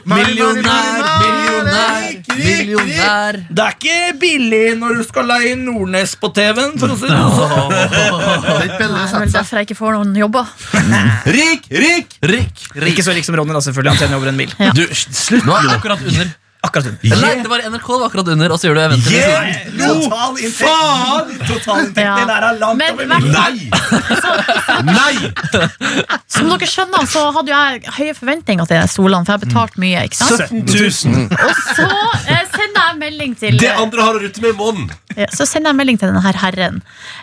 S4: Millionær, millionær, millionær.
S5: Det er ikke billig når du skal leie Nordnes på TV-en. for å si det sånn.
S1: Det er ikke Pelle
S3: Nei, Det er
S1: satt
S3: vel
S1: seg.
S3: derfor jeg ikke får noen jobber.
S2: Rik, rik!
S4: Rik, rik.
S5: Ikke så rik som Ronny, da, selvfølgelig. Han tjener over en mil.
S2: Du, slutt
S4: Nå
S2: nå!
S4: er jeg akkurat under.
S5: Akkurat hun.
S4: Eller Nei, det var NRK var akkurat under, og så gjør du eventet.
S2: Yeah!
S5: Total faen! Totalinntekten
S3: Ja.
S5: der er langt
S3: Men
S5: over
S3: hver-
S5: milen.
S2: Nei! Nei!
S3: Som dere skjønner, så hadde jo jeg høye forventninger til de stolene, for jeg betalte mye. ikke sant?
S2: 17 000!
S3: Og så eh, sender jeg melding til
S2: Det andre har å rutte med i måneden.
S3: Ja, Så sender jeg melding til denne her herren.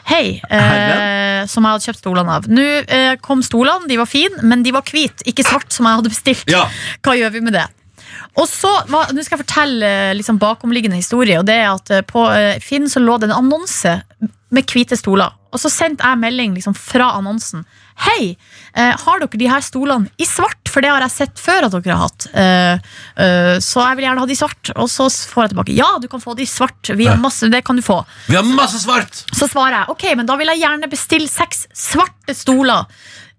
S3: Hei, eh, som jeg hadde kjøpt stolene av. Nå eh, kom stolene, de var fine, men de var hvite, ikke svart, som jeg hadde bestilt.
S2: Ja.
S3: Hva gjør vi med det? Og så, hva- Nå skal jeg fortelle eh, liksom bakomliggende historie. og det er at eh, På eh, Finn så lå det en annonse med hvite stoler. Og Så sendte jeg melding liksom fra annonsen. Hei, eh, har dere de her stolene i svart? For det har jeg sett før at dere har hatt. Eh, eh, så jeg vil gjerne ha de i svart. Og så får jeg tilbake ja, du kan få de i svart. Vi har masse, det kan du få.
S2: Vi har masse svart!
S3: Så svarer jeg ok, men da vil jeg gjerne bestille seks svarte stoler.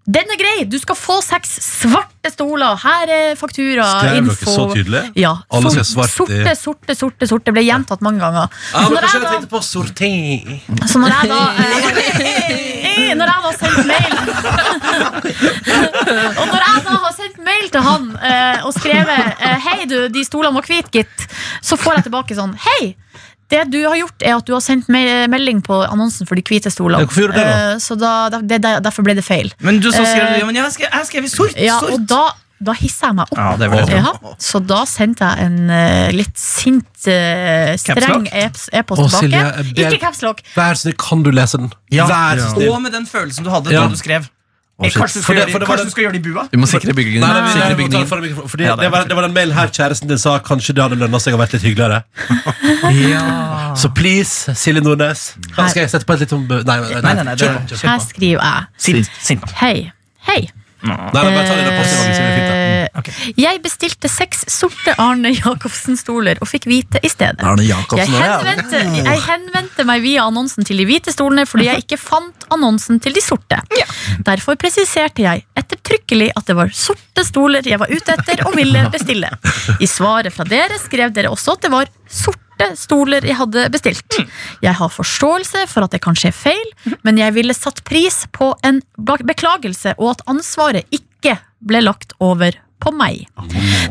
S3: Den er grei! Du skal få seks svarte stoler. Her er faktura.
S2: Skrev dere
S3: info.
S2: så tydelig?
S3: Ja.
S2: Alle skal
S3: Sort-
S2: svart i-
S3: sorte, sorte, sorte, sorte. Ble gjentatt mange ganger.
S2: Ja,
S3: Så
S2: men
S3: når
S2: kanskje
S3: jeg
S2: jeg
S3: da-
S2: tenkte på sortering.
S3: så når jeg da eh, Når jeg da har sendt mail Og når jeg da har sendt mail til han eh, og skrevet eh, Hei, du, de stolene var hvite, gitt, så får jeg tilbake sånn Hei! Det du har gjort, er at du har sendt me- melding på annonsen for de hvite stolene.
S2: Ja, hvorfor gjorde du det da?
S3: Eh, Så da, der- det, der- derfor ble det feil.
S5: Men du så skrev du,
S3: Eh,
S5: ja, men jeg har skrevet- jeg har skrevet sort!
S3: Ja,
S5: sort.
S3: og da, da hisser jeg meg opp.
S5: Ja, det vil jeg tro.
S3: Ja, så da sendte jeg en eh, litt sint, eh, streng
S5: Caps lock?
S3: e-post
S2: Å,
S3: tilbake.
S2: Silje, jeg ber-
S3: Ikke capslock.
S2: Vær snill, kan du lese den?
S5: Ja.
S2: Vær så snill.
S5: Og med den følelsen du hadde
S2: Ja.
S5: da du skrev.
S2: Å,
S5: Eh,
S2: shit.
S5: kanskje
S2: For
S5: du skal,
S2: det- for
S5: gjøre,
S2: det
S5: det,
S2: var
S5: kanskje
S2: det-
S5: du skal gjøre det i bua?
S4: Vi må sikre bygningen.
S2: Nei, nei, nei,
S4: sikre
S2: nei,
S4: bygningen.
S2: for, fordi
S5: Ja, det er
S2: det, var, det var den mailen her kjæresten din sa Kanskje det hadde lønnet seg å vært litt hyggeligere Så please, Silje Nordnes
S3: Nei.
S2: Skal jeg sette på et litt om Nei, nei, nei,
S5: Nei, nei, nei, det-
S2: kjør på, kjør på.
S3: Her skriver jeg
S5: Sint. Sint.
S3: Hei. Hei.
S2: Nei, nei, bare ta det i den postgangen, så blir det fint, da. Mm,
S3: Eh, Jeg bestilte seks sorte Arne Jacobsen-stoler og fikk hvite i stedet. Jeg henvendte, jeg henvendte meg via annonsen til de hvite stolene fordi jeg ikke fant annonsen til de sorte. Derfor presiserte jeg ettertrykkelig at det var sorte stoler jeg var ute etter og ville bestille. I svaret fra dere skrev dere også at det var sorte stoler jeg hadde bestilt. Jeg har forståelse for at det kan skje feil, men jeg ville satt pris på en bak- beklagelse og at ansvaret ikke ble lagt over på meg.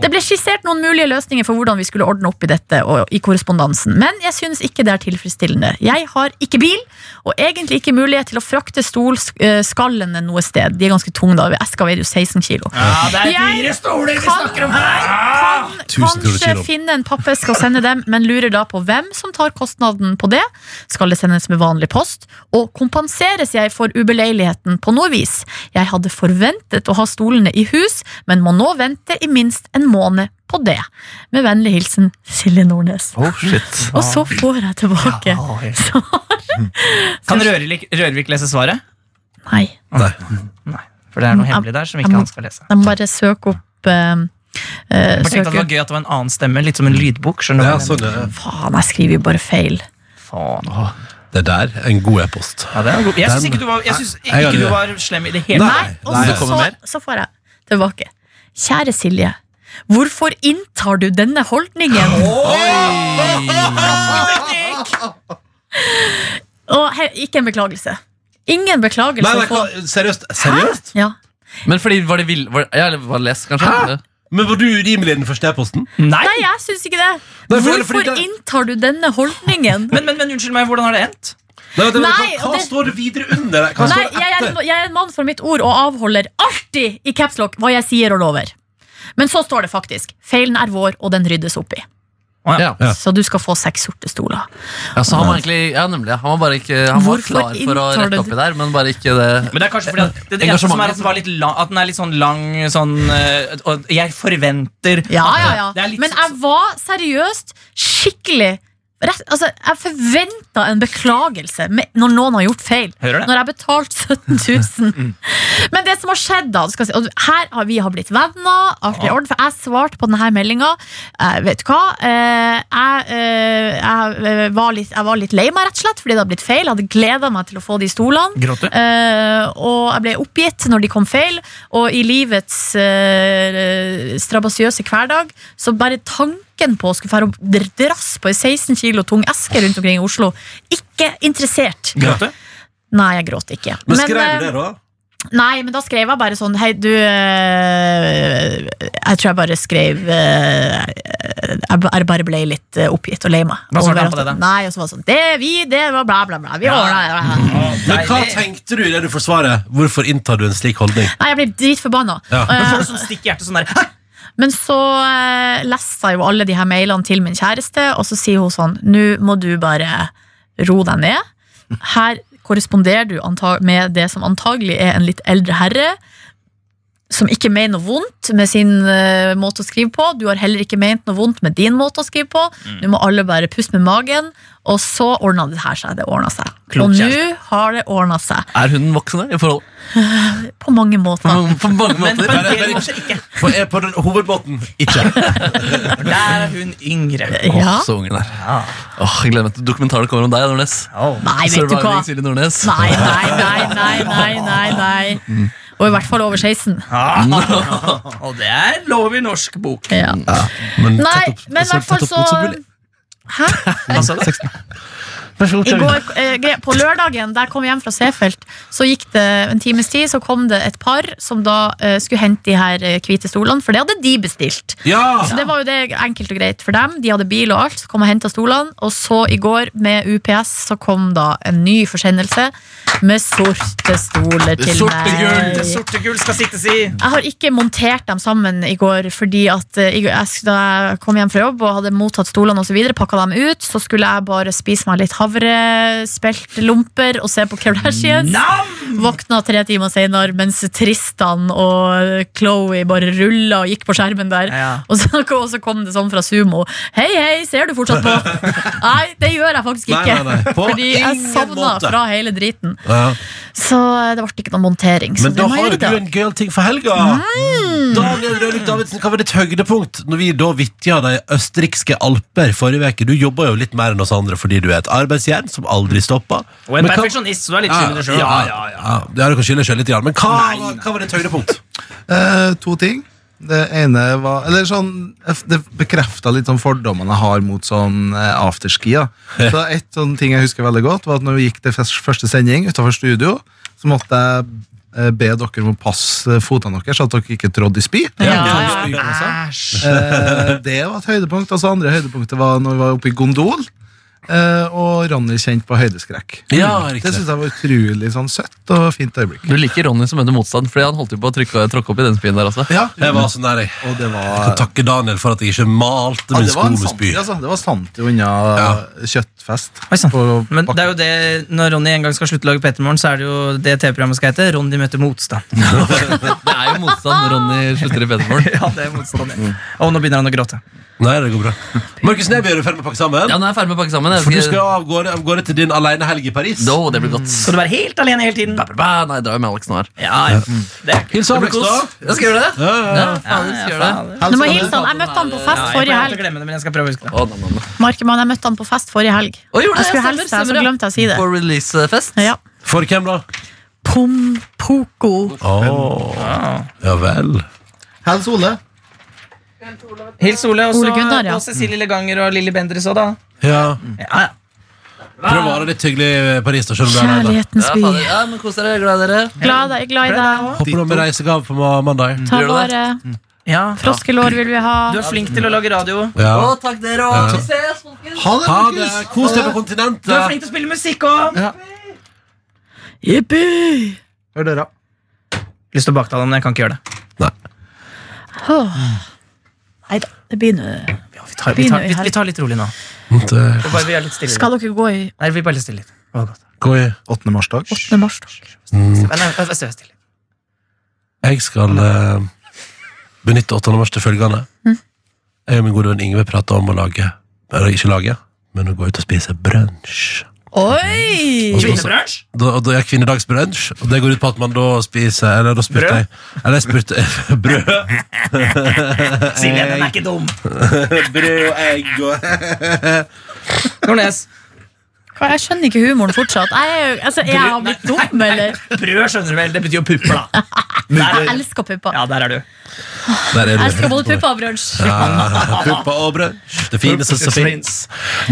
S3: Det ble skissert noen mulige løsninger for hvordan vi skulle ordne opp i dette og i korrespondansen, men jeg synes ikke det er tilfredsstillende. Jeg har ikke bil, og egentlig ikke mulighet til å frakte stolskallene noe sted. De er ganske tunge, da. Eska veier jo 16 kilo.
S5: Ja, det er
S3: Jeg
S5: dyre stoler vi
S3: kan-
S5: snakker om her! Ah!
S2: Tusen kroner
S3: Kanskje
S2: kilo.
S3: finne en pappeske og sende dem, men lurer da på hvem som tar kostnaden på det. Skal det sendes med vanlig post? Og kompenseres jeg for ubeleiligheten på noe vis? Jeg hadde forventet å ha stolene i hus, men må nå vente i minst en måned på det. Med vennlig hilsen Silje Nordnes. Og så får jeg tilbake
S5: Ah,
S3: svar. Eh.
S5: Kan Rørvik, Rørvik lese svaret?
S3: Nei.
S2: Nei.
S5: For det er noe hemmelig der som ikke han skal lese.
S3: De må bare søke opp eh, eh,
S5: Jeg bare tenkte
S3: søke
S5: at det var
S3: opp-
S5: gøy at det var en annen stemme, litt som en lydbok. skjønner du?
S2: Ja, sånn, ja.
S3: Faen, jeg skriver jo bare feil.
S5: Faen.
S2: Det der er en god e-post.
S5: Ja, det er god. Jeg syns ikke, du var, jeg synes
S2: jeg
S5: ikke
S2: gjør
S5: du var slem i det hele
S2: Nei.
S5: tatt.
S3: Nei, og
S2: nei.
S4: Det
S3: så,
S4: kommer
S3: så,
S4: mer.
S3: så får jeg tilbake. Kjære Silje, hvorfor inntar du denne holdningen? Og he, ikke en beklagelse. Ingen beklagelse.
S2: Nei, nei,
S3: for-
S2: hva- seriøst? seriøst?
S3: ja.
S4: Men fordi var det vill... Var, ja, eller var det lest, kanskje?
S2: Hæ? Men var du urimelig i den første e-posten?
S5: Nei.
S3: Nei, jeg syns ikke det.
S2: Nei, for-
S3: hvorfor
S2: fordi det-
S3: inntar du denne holdningen?
S5: Men, men, men unnskyld meg, hvordan har det endt?
S2: Nei, vent, vent,
S3: Nei,
S2: hva hva
S3: og det-
S2: står det videre under? der? Hva
S3: Nei,
S2: står det
S3: jeg er,
S2: etter?
S3: en- jeg er en mann for mitt ord og avholder alltid i caps lock hva jeg sier og lover. Men så står det faktisk feilen er vår, og den ryddes opp i.
S4: Ja.
S2: Ja.
S3: Så du skal få seks sorte stoler.
S4: ja, så han var egentlig Ja, nemlig. ja. Han var bare ikke Han var
S3: Hvorfor
S4: klar for å
S3: inntar du
S4: rette opp i der, men bare ikke det
S5: Men det er kanskje fordi at det, det eneste som er
S4: Engasjementet.
S5: at den, var litt lang, at den er litt sånn lang sånn eh, Og jeg forventer
S3: Ja, ja, ja.
S5: Det er litt sånn
S3: Men jeg var seriøst skikkelig rett, altså, Jeg forventa en beklagelse med, når noen har gjort feil.
S5: Hører det? Mm.
S3: Når jeg betalte 17 000. Men det som har skjedd, da skal jeg si, og Her har vi har blitt venner. alt i orden, For jeg svarte på denne meldinga. Vet du hva? Eh, Jeg, eh, jeg, eh, var litt, jeg var litt lei meg, rett og slett, fordi det hadde blitt feil. Jeg hadde gleda meg til å få de stolene.
S5: Gråt du?
S3: Eh, og jeg ble oppgitt når de kom feil, og i livets eh, strabasiøse hverdag så bare tanken på å skulle fære og dr- drasse på ei 16 kilo tung eske rundt omkring i Oslo, ikke interessert.
S5: Gråt du?
S3: Nei, jeg gråt ikke.
S2: Men skrev du
S3: eh,
S2: det, da?
S3: Nei, men da skrev jeg bare sånn Hei, du eh, Jeg tror jeg bare skrev eh, Jeg ba- jeg bare ble litt eh, oppgitt og lei meg.
S5: Hva svarte
S3: Over
S5: han
S3: at-
S5: på det da?
S3: Nei, og så var det sånn Det er vi, det var bla, bla, bla. Vi ordner det.
S2: Men hva
S5: Deilig.
S2: tenkte du i det du forsvarer? Hvorfor inntar du en slik holdning?
S3: Nei, jeg blir dritforbanna.
S2: Ja.
S5: Men
S3: Eh,
S5: får du sånn stikk i hjertet sånn der «Hæ?
S3: Men så eh, leste jeg jo alle de her mailene til min kjæreste, og så sier hun sånn Nå må du bare ro deg ned. Her korresponderer du anta- med det som antagelig er en litt eldre herre. Som ikke mener noe vondt med sin eh, måte å skrive på. Du har heller ikke ment noe vondt med din måte å skrive på. Nå må alle bare puste med magen, og så ordna det her seg. Det ordna seg.
S5: Klok
S3: og nå
S5: kjæreste.
S3: har det ordna seg.
S4: Er hun voksen i forhold
S3: På mange måter.
S4: på, på mange
S5: Men på
S4: måter?
S5: en del måter ikke.
S2: På, er på den hovedbåten? Ikke.
S5: For der er hun yngre.
S4: Åh,
S3: Ja.
S4: Så ungen der. Åh, jeg gleder meg til dokumentaren kommer om deg, Nordnes.
S3: Nei, vet du hva.
S4: Surviving Silje Nordnes.
S3: Nei, nei, nei, nei, nei, nei, nei. Og i hvert fall over 16.
S5: Ah. Og det er lov i norsk bok.
S3: Ja.
S2: Men
S3: Nei,
S2: tett opp-
S3: men i
S2: så
S3: hvert fall
S2: tett opp
S3: så
S2: mot som mulig.
S3: Hæ?
S5: Hva sa du?
S3: I går, eh, gre- på lørdagen, der jeg kom hjem fra Seefeld, så gikk det en times tid, så kom det et par som da eh, skulle hente de her eh, hvite stolene, for det hadde de bestilt.
S2: Ja!
S3: Så det var jo det enkelt og greit for dem. De hadde bil og alt, så kom og henta stolene. Og så i går, med UPS, så kom da en ny forsendelse med sorte stoler til
S4: Sorte
S3: meg.
S4: gull,
S5: Det sorte gull skal sittes i.
S3: Jeg har ikke montert dem sammen i går, fordi at eh, i går- jeg, sk- da jeg kom hjem fra jobb og hadde mottatt stolene og så videre, pakka dem ut, så skulle jeg bare spise meg litt havrespeltlomper og se på Kardashians. Våkna tre timer senere mens Tristan og Chloé bare rulla og gikk på skjermen der.
S5: Ja.
S3: Og, så, og så kom det sånn fra Sumo. Hei, hei, ser du fortsatt på? nei, det gjør jeg faktisk
S2: Nei,
S3: ikke.
S2: nei, nei. På
S3: Fordi jeg
S2: ingen
S3: savna
S2: måte.
S3: fra hele driten.
S2: Ja.
S3: Så eh, det ble ikke noen montering. Så
S2: Men da
S3: det må
S2: har
S3: jeg
S2: jo
S3: gjøre i
S2: du
S3: dag.
S2: en gøyal ting for helga! Daniel Rødvik Davidsen, hva var ditt høydepunkt når vi da vitja de østerrikske alper forrige uke? Du jobber jo litt mer enn oss andre fordi du er et arbeidsjern som aldri stopper.
S5: Og en
S2: Men hva-
S5: perfeksjonist, så du er litt
S2: Ja,
S5: skyld i deg sjøl.
S2: ja, ja, ja. ja, du kan skylde deg selv litt, grann, men hva, hva var ditt høydepunkt?
S1: Eh, to ting. Det ene var Eller sånn Det bekrefta litt sånn fordommene jeg har mot sånn eh, afterski. da. Så et sånn ting jeg husker veldig godt, var at når vi gikk til fes- første sending utenfor studio, så måtte jeg eh, be dere om å passe fotene deres, så at dere ikke trådde i spy.
S3: Ja, ja.
S5: Æsj.
S1: Eh, det var et høydepunkt. Og så andre høydepunktet var når vi var oppe i gondol, eh, og Ronny kjente på høydeskrekk.
S2: Ja,
S1: Det
S2: riktig.
S1: syns jeg var utrolig sånn søtt og fint øyeblikk.
S4: Du liker Ronny som møter motstand, fordi han holdt jo på å trykke, tråkke opp i den spyen der også.
S1: Ja,
S2: Jeg var sånn der, jeg.
S1: og det
S2: Jeg
S1: var
S2: takker Daniel for at jeg ikke malte
S1: Ja,
S2: min
S1: det
S2: sko
S1: var en
S2: med spy.
S1: sant- altså, det var sant jo unna eh, kjøttfest.
S5: Oi, sant.
S1: på
S5: Men
S1: bakken.
S5: det er jo det, når Ronny en gang skal slutte å lage Petermorgen, så er det jo det TV-programmet skal hete Ronny møter motstand.
S4: Det er jo motstand Ronny slutter i Petermorgen.
S5: Ja, det er motstand. Og nå Mm. begynner han å gråte.
S2: Nei, det går bra. Markus Neby er du ferdig med å pakke sammen?
S4: Ja, nå er jeg ferdig med å pakke sammen. Jeg
S2: For du
S4: vet
S2: skal
S4: ikke-
S2: av gårde, av gårde til din alenehelg i Paris.
S4: Nå, det blir godt.
S5: Skal du være helt alene hele tiden?
S4: Ba, ba, ba. Nei, jeg drar jo med Alex nå her.
S5: Ja, ja.
S2: Mm.
S5: Det er
S2: Hils
S4: Det blir
S2: Alex, da.
S4: kos. Jeg skal gjøre det.
S2: Ja, ja, ja.
S4: Ja, faen, jeg skal gjøre det.
S3: Du må hilse han. Jeg møtte han på fest
S5: jeg
S3: forrige
S5: pleier alltid å
S3: helg.
S5: glemme det, men jeg skal prøve å huske det.
S4: Å, nam, nam, nam.
S3: Markemann, jeg møtte han på fest forrige helg.
S4: Å, gjorde
S3: Jeg
S4: det?
S3: skulle
S4: Stemmer,
S3: hilse, så
S4: stemmer, ja.
S3: glemte jeg å si det.
S4: På releasefest.
S3: Ja.
S2: For hvem, da?
S3: Pom Poco.
S2: Åh, Ja vel.
S1: Hils Ole.
S5: Hils Ole og så-
S3: Ole Gunnar, ja.
S5: og Cecilie Leganger og Lilly Bendriss òg, da.
S2: Ja.
S5: Ja, ja.
S2: Prøv å være litt hyggelig eh, i Paris, da. Selv om du er alene.
S3: Kjærlighetens
S4: Ja,
S3: by.
S4: fader. ja, men Kos dere. Glad i dere.
S3: Glad i deg. Glad i deg.
S2: Håper du har med reisegave på ma- mandag.
S3: Ta
S4: Gjør du det?
S3: vare.
S5: Ja.
S3: Froskelår vil vi ha.
S5: Du er flink til å lage radio.
S4: Å,
S2: Ja.
S4: takk dere òg. Vi ses, folkens.
S1: Ha det,
S2: Ha det.
S1: Markus.
S2: Kos deg på
S5: Du er
S2: kontinentet.
S5: flink til å spille musikk òg!
S3: Jippi!
S1: Hør døra.
S5: Lyst til å baktale, men jeg kan ikke gjøre det.
S3: Nei da, det blir nå
S5: Ja, vi, tar, vi, tar, vi, vi tar litt rolig nå.
S2: Det-
S5: Vi bare, vi er litt stille.
S3: Skal dere gå i
S5: Nei, vi bare litt stille litt. Det var godt.
S1: 8. mars-dag.
S3: 8. mars? da?
S5: Nei, nei, vær- vær stille.
S2: Jeg skal eh, benytte 8. mars til følgende. Jeg og min gode venn Ingve prata om å lage Eller ikke lage, men å gå ut og spise brunsj.
S3: Oi!
S5: Kvinnebrunsj?
S2: Da, og da er kvinnedagsbrunsj, og det går ut på at man da spiser Eller da spurte
S5: Brød?
S2: jeg Eller jeg spurte brød.
S5: Silje, den er ikke dum.
S2: brød og egg og
S5: Nordnes,
S3: Hva, Jeg skjønner ikke humoren fortsatt. Jeg er, jo- altså, er jeg blitt dum, eller?
S5: brød skjønner du vel, det betyr jo pupper, da.
S3: Jeg elsker pupper.
S5: Ja, der er du.
S2: Der er
S3: Jeg
S2: du.
S3: elsker både pupper og brunsj.
S2: Ja, Puppa og brød. Det fineste som fins.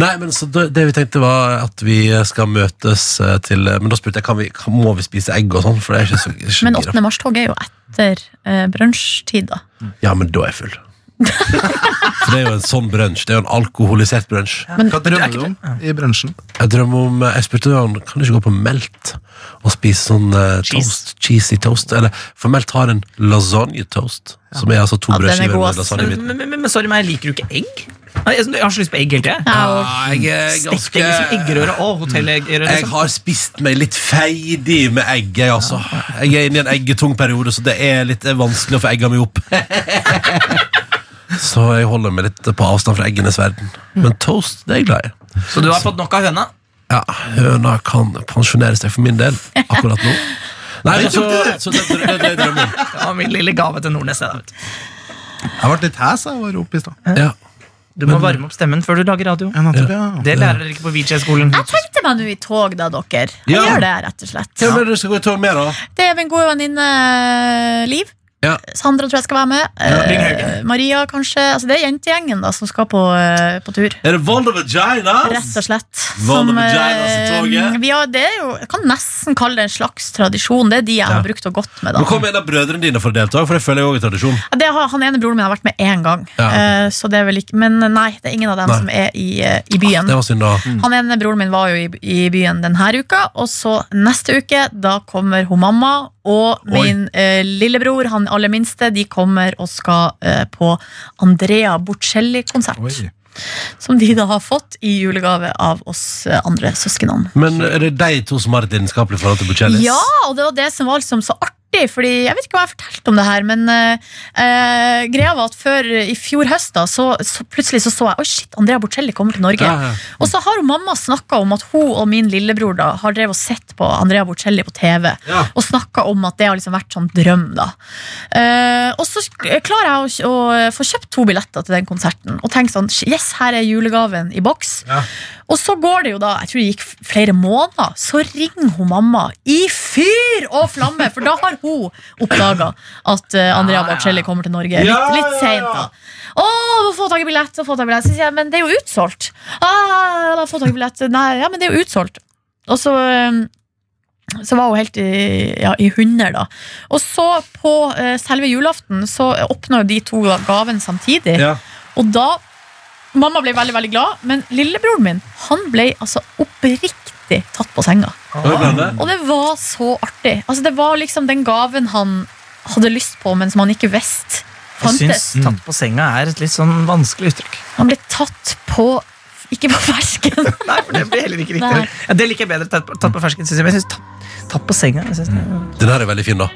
S2: Nei, men så det, det vi tenkte var at vi skal møtes eh, til Men da spurte jeg kan vi, kan, må vi spise egg og sånn, for det er ikke så ikke så
S3: Men
S2: gira.
S3: 8. mars-tog er jo etter eh, brunsjtid, da.
S2: Ja, men da er jeg full. For det er jo en sånn brunsj. Det er jo en alkoholisert brunsj.
S1: Hva drømmer du om i brunsjen?
S2: Jeg drømmer om eh, Jeg spurte han kan du ikke gå på Melt og spise sånn eh,
S5: Cheese.
S2: toast, cheesy toast. Eller, for Melt har en lasagne-toast, som er altså to
S3: Ja, den er
S2: brødskiver
S3: god,
S2: med
S3: ass.
S2: lasagne i midten.
S5: Men, men, men sorry, men jeg liker jo ikke egg. Nei, Jeg, jeg har så lyst på egg hele tida.
S3: Ja, og-
S2: Nei, jeg er
S5: Stekt egg
S3: liksom
S5: som liksom eggerøre og hotelleggerøre.
S2: Jeg
S5: Liksom.
S2: har spist meg litt feidig med egg, jeg, altså. Jeg er inne i en eggetung periode, så det er litt eh, vanskelig å få egga mi opp. så jeg holder meg litt på avstand fra eggenes verden. Men toast, det er jeg glad i.
S5: Så du har fått nok av høna?
S2: Ja, Høna kan pensjonere seg for min del akkurat nå. Nei, men så, så det, det, det er drømmen.
S5: Det var min lille gave til Nordnes. det da, vet du.
S1: Jeg ble litt hes jeg var oppe i stad.
S2: Ja.
S5: Du må varme opp stemmen før du lager radio.
S1: Ja, nettopp, ja.
S5: Det lærer dere ikke på VJ-skolen.
S3: Jeg tenkte meg nå i tog, da, dere. Jeg
S2: Ja.
S3: gjør det, rett og slett.
S2: Hvem er det du skal gå i tog med, da?
S3: Det er min gode venninne Liv.
S2: Ja.
S3: Sandra tror jeg skal være med. Eh, Maria, kanskje. Altså, det er jentegjengen da, som skal på, eh, på tur.
S2: Er det Vold of Vaginas?
S3: Rett og slett.
S2: Vann og vaginas i
S3: eh,
S2: altså, toget.
S3: vi har, det er jo, jeg kan nesten kalle det en slags tradisjon. Det er de jeg har brukt og gått med.
S2: Nå
S3: da.
S2: kom en av brødrene dine for å delta, for det føler jeg òg er tradisjon.
S3: Ja, Det har, han ene broren min har vært med én gang,
S2: Ja.
S3: eh, så det er vel ikke, men nei, det er ingen av dem
S2: Nei.
S3: som er i, eh, i byen.
S2: Det var synd, da.
S3: Han ene broren min var jo i, i byen denne uka, og så neste uke da kommer hun mamma og
S2: Oi.
S3: min eh, lillebror, han aller minste, de kommer og skal eh, på Andrea Bocelli-konsert.
S1: Oi.
S3: Som de da har fått i julegave av oss eh, andre søsknene.
S2: Men er det de to som har et lidenskapelig forhold til Bucellis?
S3: Ja, og det var det som var liksom så artig, fordi jeg vet ikke hva jeg fortalte om det her, men eh, eh, greia var at før eh, i fjor høst da, så, så plutselig så så jeg, oi shit, Andrea Bocelli kommer til Norge.
S2: Ja, ja.
S3: Og så har jo mamma snakka om at hun og min lillebror da har drevet og sett på Andrea Bocelli på TV.
S2: Ja.
S3: Og snakka om at det har liksom vært sånn drøm, da. Eh, og så sk- klarer jeg å, å få kjøpt to billetter til den konserten og tenker sånn Yes, her er julegaven i boks. Og så går det jo da, jeg tror det gikk f- flere måneder, så ringer hun mamma i fyr og flamme, for da har hun oppdaga at eh, Andrea Bocelli kommer til Norge. Litt, litt seint, da. Å, må få tak i billett! må Få tak i billett. Så sier jeg, men det er jo utsolgt. Ah, da, få tak i billett. Nei, ja, men det er jo utsolgt. Og så eh, så var hun helt i, ja, i hunder, da. Og så, på eh, selve julaften, så åpna jo de to gaven samtidig.
S2: Ja.
S3: Og da Mamma ble veldig veldig glad, men lillebroren min han ble altså oppriktig tatt på senga.
S2: Hva ble det?
S3: Og det var så artig. Altså Det var liksom den gaven han hadde lyst på, men som han ikke visste
S5: Jeg
S3: fantes.
S5: syns tatt på senga er et litt sånn vanskelig uttrykk.
S3: Han ble tatt på Ikke på fersken.
S5: Nei, for det blir heller ikke
S3: Nei.
S5: riktig. Ja, det liker jeg bedre. Tatt på, tatt på fersken, synes jeg. Men jeg synes tatt, tatt på senga. Jeg synes det.
S2: Den her er veldig fin, da.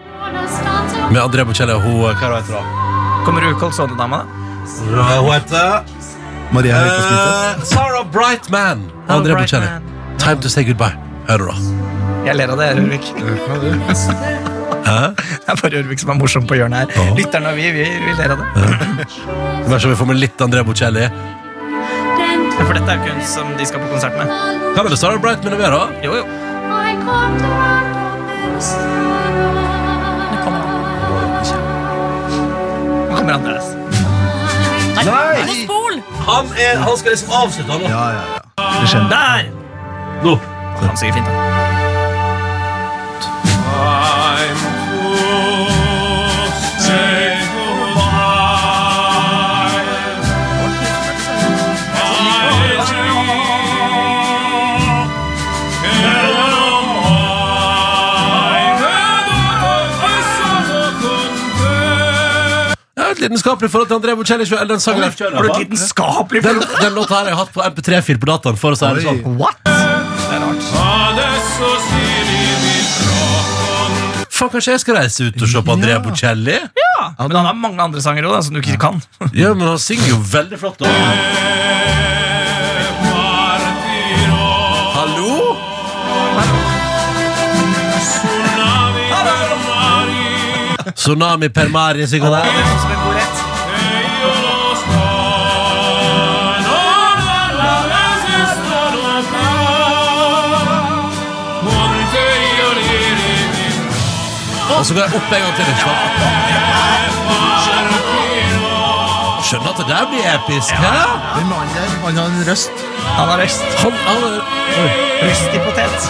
S2: Med Andrea Bocelli og hun Hva heter hun?
S5: Mm. Kommer du Colsone-dama, da?
S2: Hun heter
S1: Maria hører på smittet.
S2: Eh, Sarah Brightman.
S5: Sarah
S2: André Bocelli.
S5: Brightman.
S2: Time to say goodbye. Hører du, da?
S5: Jeg ler av det, Rørvik. Det er bare Rørvik som er morsom på hjørnet her.
S2: Ja.
S5: Lytterne og vi, vi, vi ler av det.
S2: Vær så snill, vi får med litt André Bocelli.
S5: Ja, For dette er jo ikke hun som de skal på konsert med.
S2: Hva med det Sarah Brightman å være? da?
S5: Jo, jo.
S3: Nå kommer han.
S5: Nå kommer Andreas.
S3: Nei! Nei. Må spol!
S2: Han, er, han skal liksom avslutte, han. da.
S1: Ja, ja, ja.
S5: Der!
S2: Nå.
S5: Han synger fint, da.
S2: Jeg har et lidenskapelig forhold til André Bocelli. Eller den sangen der.
S5: Har du et lidenskapelig
S2: Den, den låta her har jeg hatt på MP3-fil på dataen. For å si det
S1: Oi.
S2: sånn
S5: What? Det er rart.
S2: Faen, kanskje jeg skal reise ut og se på Andrea Bocelli?
S5: Ja, men han har mange andre sanger òg, som du ikke kan.
S2: Ja, men han synger jo veldig flott. Da. Hallo? Tsunami per mare, synger han der.
S5: Som en god rett.
S2: Og så går jeg opp en gang til. Ikke sant? Skjønner at det der blir episk. Hæ?
S1: Den mannen der, han har en røst.
S5: Han har røst.
S2: Han, han, oi.
S5: Røst i potet.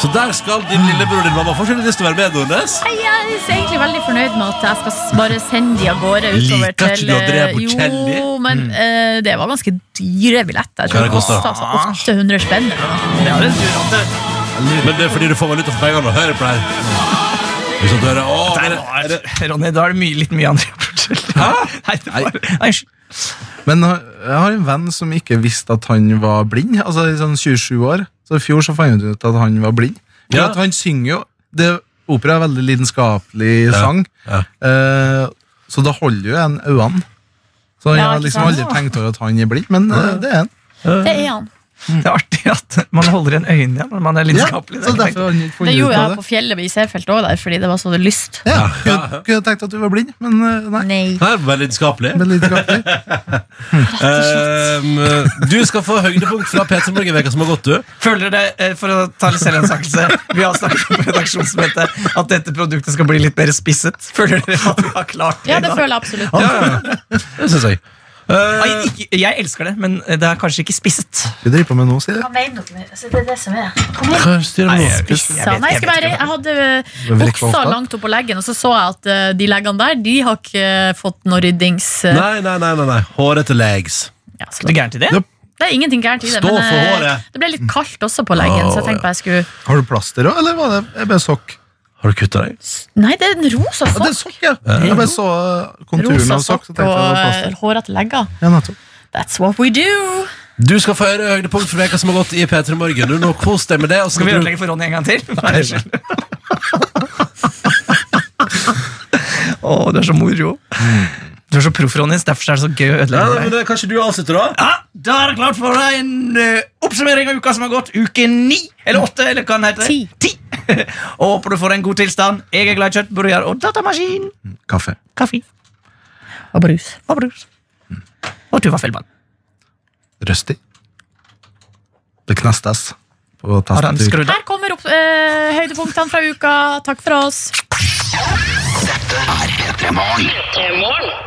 S2: Så der skal din lillebror og din mamma få seg litt lyst til å være med, Nordnes.
S3: Nei, Jeg er egentlig veldig fornøyd med at jeg skal s- bare sende de av gårde utover
S2: Liker ikke
S3: til
S2: du Andrea
S3: eh,
S2: Bocelli?
S3: Jo, men eh, det var ganske dyre billetter. Jeg
S2: Hva
S3: tror
S2: Mm.
S3: det
S2: det koster?
S3: kostet altså 800 spenn. eller noe.
S5: Det er en tur at det
S2: Men det er fordi du får valuta for pengene og hører på det her. Hvis du hører, å,
S5: Der
S2: men,
S5: var Ronny, da er det mye, litt mye andre forskjeller. Nei, det var, nei, unnskyld.
S1: Men ha- jeg har en venn som ikke visste at han var blind. Altså i sånn 27 år. Så i fjor så fant jeg ut at han var blind. For
S2: Ja.
S1: at han synger jo det, Opera er veldig lidenskapelig
S2: Ja,
S1: sang.
S2: ja.
S1: Eh, så det holder jo en øynene. Så jeg
S3: Ja,
S1: har
S3: ikke
S1: liksom
S3: sant?
S1: aldri tenkt over at han er blind, men eh, det er han.
S3: Det er han.
S5: Det er artig at man holder igjen øynene igjen når man er
S1: Ja,
S5: lidenskapelig.
S1: så derfor har han ikke
S3: Det
S1: funnet ut
S3: gjorde jeg
S1: av
S3: på
S1: det.
S3: fjellet i Seefeld òg, fordi det var så lyst.
S1: Ja, kunne, kunne tenkt at du var blind, men eh, nei.
S3: Nei.
S2: det er veldig lidenskapelig.
S1: Men lidenskapelig.
S2: Ehm, du skal få høydepunkt fra Peter Morgen i veka som har gått, du.
S5: Føler dere, eh, for å ta litt selvransakelse Vi har snakket på redaksjonsmøte at dette produktet skal bli litt mer spisset. Føler dere at vi har klart det?
S3: Ja,
S5: i
S3: det
S5: dag?
S3: føler jeg absolutt.
S2: Det syns jeg. Eh,
S5: Nei, ikke, jeg elsker det, men det er kanskje ikke spisset.
S1: Vi driver på med nå, sier jeg.
S3: Hva mener dere? med- Altså, Det er det som er.
S2: Hva styrer du nå?
S3: Pissa. Nei, jeg, skal bare, jeg hadde eh,
S1: Men vil ikke
S3: buksa
S1: oppstå?
S3: langt oppå leggen, og så så jeg at eh, de leggene der, de har ikke eh, fått noe ryddings... eh,
S2: Nei, nei, nei. nei, nei. Hårete legs.
S3: Ja, så
S5: Er du gæren til det?
S1: Ja.
S3: det er ingenting gærent i det,
S2: Stå
S3: men
S2: for
S3: eh,
S2: håret.
S3: det ble litt kaldt også på leggen, så jeg tenkte bare jeg skulle
S1: Har du plaster òg, eller var det jeg bare sokk?
S2: Har du kutta deg?
S3: Nei, det er en rosa
S1: Ja, det er
S3: sokk.
S1: sokk, ja. Jeg bare så eh, konturen
S3: Rosa
S1: av sokk,
S3: sokk
S1: så
S3: og
S1: tenkte jeg det var plaster.
S3: eh, hårete legger.
S1: Ja, nettopp.
S3: That's what we do.
S2: Du skal få høre høydepunkt fra veka som har gått i Peter Morgen. Du, nå kos deg med det. Og så
S5: Skal vi
S2: skal du
S5: ødelegge for Ronny en gang til? Nei, unnskyld. Å, du er så moro. Mm. Du er så proff, Ronny. så Derfor er det så gøy å
S2: ja,
S5: ødelegge for
S2: men
S5: deg.
S2: det, Kanskje du avslutter, da?
S5: Ja, Da er det klart for en eh, oppsummering av uka som har gått. Uke ni, eller åtte, eller hva den heter.
S3: Ti.
S5: Ti. og håper du får en god tilstand. Jeg er glad i kjøtt, burger og datamaskin.
S1: Kaffe.
S5: Mm, Kaffe
S3: Og brus.
S5: og brus. Mm. Og Tuva Fellmann.
S1: Røsti. Det knastes på
S5: Har han
S1: tastatur.
S5: skrudd av?
S3: Her kommer opp, eh, høydepunktene fra uka. Takk for oss.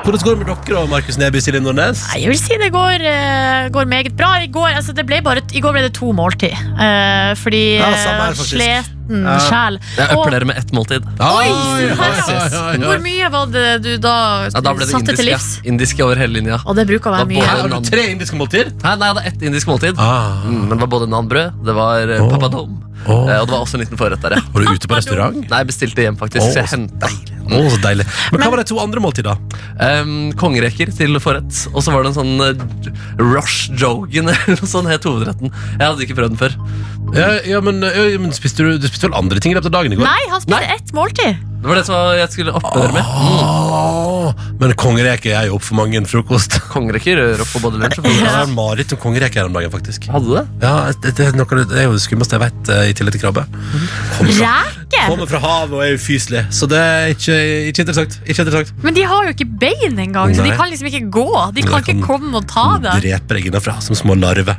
S2: Hvordan går det med dere og Markus Neby Silje Nordnes?
S3: Nei, Jeg vil si det går, eh, går meget bra. I går, altså, det ble bare, I går ble det to måltid. eh, fordi
S2: Ja, samme her,
S3: eh,
S2: faktisk.
S3: sleten sjel.
S4: Jeg
S3: Og-
S4: øpper dere med ett måltid.
S3: Oi,
S2: Oi,
S3: her,
S2: oi, oi,
S3: altså.
S2: oi, oi.
S3: Hvor mye var det du da,
S4: Ja, da ble det
S3: satte til
S4: indiske.
S3: livs?
S4: Indiske over hele linja.
S3: Og det bruker å være
S4: Da
S3: mye.
S4: både-
S2: Har du tre indiske måltider?
S4: Nei, nei, jeg hadde ett indisk måltid.
S2: Ah.
S4: Mm, men det var både nanbrød, det var eh,
S2: Åh.
S4: papadom,
S2: Åh.
S4: eh, og det var også en liten forrett der, ja.
S2: Var du ute på restaurant?
S4: Nei, jeg bestilte hjem, faktisk.
S2: Åh,
S4: så jeg
S2: så
S4: hentet
S2: Å, så deilig. Men hva var de to andre måltidene?
S4: Em, kongereker til forrett. Og så var det en sånn eh, Rush Jogan eller noe sånt het hovedretten. Jeg hadde ikke prøvd den før.
S2: Ja, ja, men, ja, men spiste du, du spiste vel andre ting i løpet av dagen i går?
S3: Nei, han spiste ett måltid.
S4: Det var det som jeg skulle oppe dere med.
S2: Åh, Ah, men kongereke er jo opp for mange en frokost.
S4: Kongereker rører opp på både lunsj og
S2: Jeg
S4: frokost.
S2: har en mareritt om kongereke her om dagen, faktisk.
S4: Hadde du det?
S2: Ja, det, det, er noe, av det- det er jo det skumleste jeg vet, eh, i tillegg til krabbe. Kommer fra,
S3: Reke?
S2: kommer fra havet og er ufyselig, så det er ikke, ikke interessant. Ikke interessant.
S3: Men de har jo ikke bein engang, så de
S2: Nei.
S3: kan liksom ikke gå. De
S2: Nei,
S3: kan ikke
S2: kan-
S3: komme og ta det.
S2: Dreper jeg innenfra som små larver.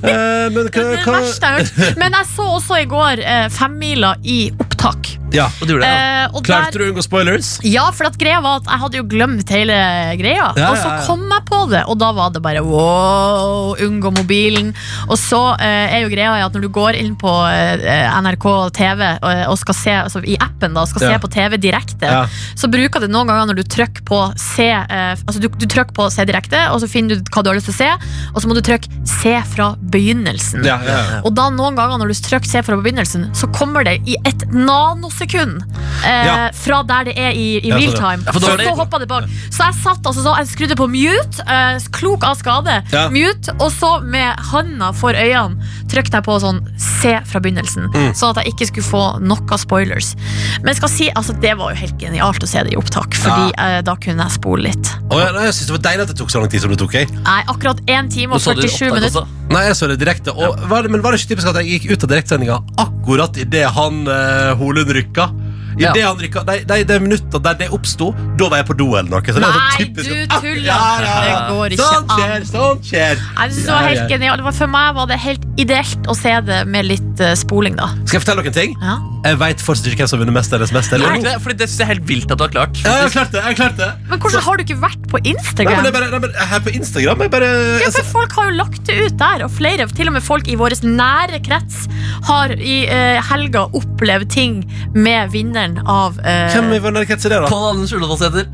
S2: Eh, men hva,
S3: Det er det
S2: hva
S3: verste jeg har hørt. Men jeg så også i går eh, femmila i opptak.
S2: ja.
S4: Og du gjorde det, ja.
S3: Eh, og
S2: Klarte
S3: der,
S2: du å unngå spoilers?
S3: ja, for at greia var at jeg hadde jo glemt hele greia.
S2: Ja,
S3: Og så
S2: ja, ja.
S3: kom jeg på det, og da var det bare wow, unngå mobilen. Og så eh, er jo greia at når du går inn på eh, NRK TV og, og skal se altså, i appen da, skal
S2: Ja.
S3: se på TV direkte,
S2: Ja.
S3: så bruker det noen ganger når du trykker på se eh, Altså du, du trykker på se direkte, og så finner du hva du har lyst til å se, og så må du trykke se fra begynnelsen.
S2: Ja, ja, ja.
S3: Og da noen ganger når du strøk ser fra begynnelsen, så kommer det i et nanosekund eh,
S2: Ja.
S3: fra der det er i, i
S2: Ja,
S3: real
S2: sånn, ja.
S3: time.
S4: Ja, for da
S3: så,
S4: er det-
S3: så hoppa det bak. Så jeg satt altså så, jeg skrudde på mute, eh, klok av skade,
S2: Ja.
S3: mute, og så med handa for øynene trykte jeg på sånn se fra begynnelsen,
S2: Mm.
S3: sånn at jeg ikke skulle få noe spoilers. Men skal si, altså det var jo helt genialt å se det i opptak, fordi eh, da kunne jeg spole litt.
S2: Å, ja, nei, jeg synes det var deilig at det tok så lang tid som det tok. Jeg.
S3: Nei, akkurat 1 time
S4: Nå
S3: og
S4: sa du
S3: 47
S4: opptak
S3: minutter.
S4: også.
S2: Nei, jeg så det direkte. Og, var det, men var det ikke typisk at jeg gikk ut av direktsendinga akkurat idet han eh, Holund rykka? I
S4: Ja.
S2: det han rykka Nei, nei det minuttet der det oppsto, da var jeg på do eller noe. Så det er sånn
S3: Nei, du
S2: typisk at-
S3: tuller!
S2: Ja, ja, ja.
S3: Det går ikke
S2: Sånt
S3: an.
S2: skjer, sånt skjer.
S3: Jeg synes det var
S2: Ja,
S3: helt
S2: ja.
S3: genialt. Det var- For meg var det helt ideelt å se det med litt eh, spoling, da.
S2: Skal jeg fortelle dere en ting?
S3: Ja.
S2: Jeg veit fortsatt ikke hvem som har vunnet Mest eller Mest.
S4: Gjorde
S2: Eller?
S4: du ikke det? Fordi det synes jeg er helt vilt at du har klart.
S2: Ja, jeg har klart det. jeg har klart det
S3: Men hvordan har du ikke vært på
S2: Nei, men
S3: Instagram?
S2: det er bare, nei, men Her på Instagram jeg bare altså,
S3: Ja,
S2: jeg,
S3: for
S2: sa-
S3: Folk har jo lagt det ut der, og flere, til og med folk i vår nære krets, har i eh, helga opplevd ting med vinneren av eh,
S2: Hvem i vår nærkretser er det, da?
S4: Pål Anders Ullevål heter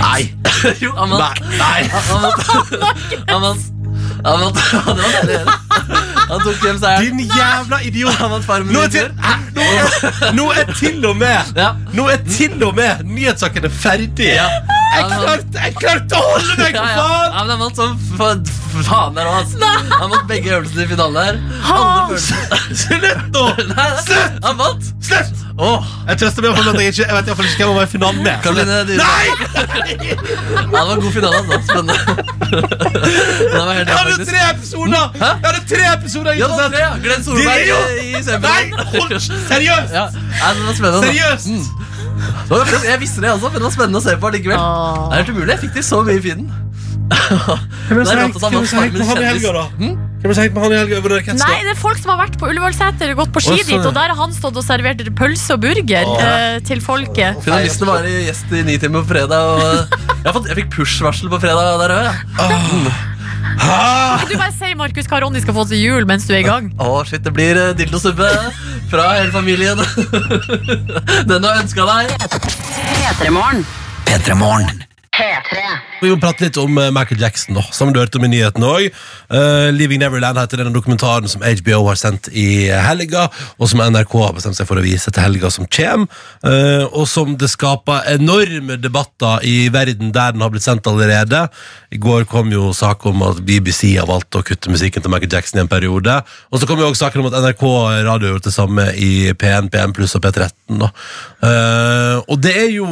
S4: Nei. jo, han vant.
S2: Nei.
S4: Han vant. Han vant. Han vant. Ja, det var deilig å høre. Han tok hjem seieren.
S2: Din jævla idiot!
S4: Han vant Farmen
S2: Nå er, til,
S4: Junior.
S2: hæ? nå, er, nå er til og med
S4: Ja.
S2: Nå er til og med nyhetssakene ferdige!
S4: Ja.
S2: Jeg
S4: Han vant.
S2: klarte, jeg klarte å holde meg,
S4: Ja,
S2: for
S4: ja.
S2: faen!
S4: ja, men han vant sånn fa- faen der òg, ass. Han vant begge øvelsene i finalen der.
S3: Ha!
S4: Alle følelsene.
S2: Slutt nå!
S4: Nei, nei,
S2: Slutt!
S4: han vant!
S2: Slutt!
S4: Åh,
S2: Jeg trøster meg for at jeg ikke Jeg vet i hvert fall ikke hvem jeg var i finalen med.
S4: Karoline Dyhre.
S2: Nei!
S4: Ja, det var en god finale, altså. Spennende. Det var helt
S2: Jeg hadde jo
S4: faktisk.
S2: tre episoder!
S4: Hæ?
S2: Jeg hadde tre episoder
S4: Ja, det var
S2: ikke
S4: tre.
S2: sant?
S4: ja. Glenn Solberg
S2: Dyhre, jo.
S4: i- i semifinalen.
S2: Nei! Hold, seriøst!
S4: Ja, nei, det var spennende. da.
S2: Seriøst!
S4: Det var faktisk- Jeg visste det, altså, men det var spennende å se på likevel.
S3: Åh.
S4: Det er helt umulig. Jeg fikk til så mye i feeden.
S2: Hvem er det som hengt-
S4: Det er rått at
S2: hvem
S4: han
S2: er det som
S4: var
S2: hengt med han i
S4: kjendis. Hm?
S2: helga, da? Hvem er det som hengt med han i helga over Orkester?
S3: Nei, det er folk som har vært på Ullevålseter og gått på ski
S2: Å, sånn,
S3: dit,
S2: ja.
S3: og der har han stått og servert pølse og burger eh, til folket.
S4: Finalisten var i gjest i Nitimen på fredag. Og jeg, har fått, jeg fikk push-varsel på fredag. der også, ja.
S2: Ah!
S3: Kan du bare si, Markus, hva Ronny skal få til jul mens du er i gang?
S4: Å, shit, det blir eh, dildosuppe fra hele familien. Den du har ønska deg.
S7: P3morgen. P3.
S2: Vi må prate litt om eh, Michael Jackson, da, som du hørte om i nyheten òg. 'Leaving Neverland' heter denne dokumentaren som HBO har sendt i helga, og som NRK har bestemt seg for å vise til helga som kommer. eh, og som det skaper enorme debatter i verden der den har blitt sendt allerede. I går kom jo sak om at BBC har valgt å kutte musikken til Michael Jackson i en periode. Og så kom jo også saken om at NRK Radio gjorde det samme i P1, P1 pluss og P13. Da. Eh, og det er jo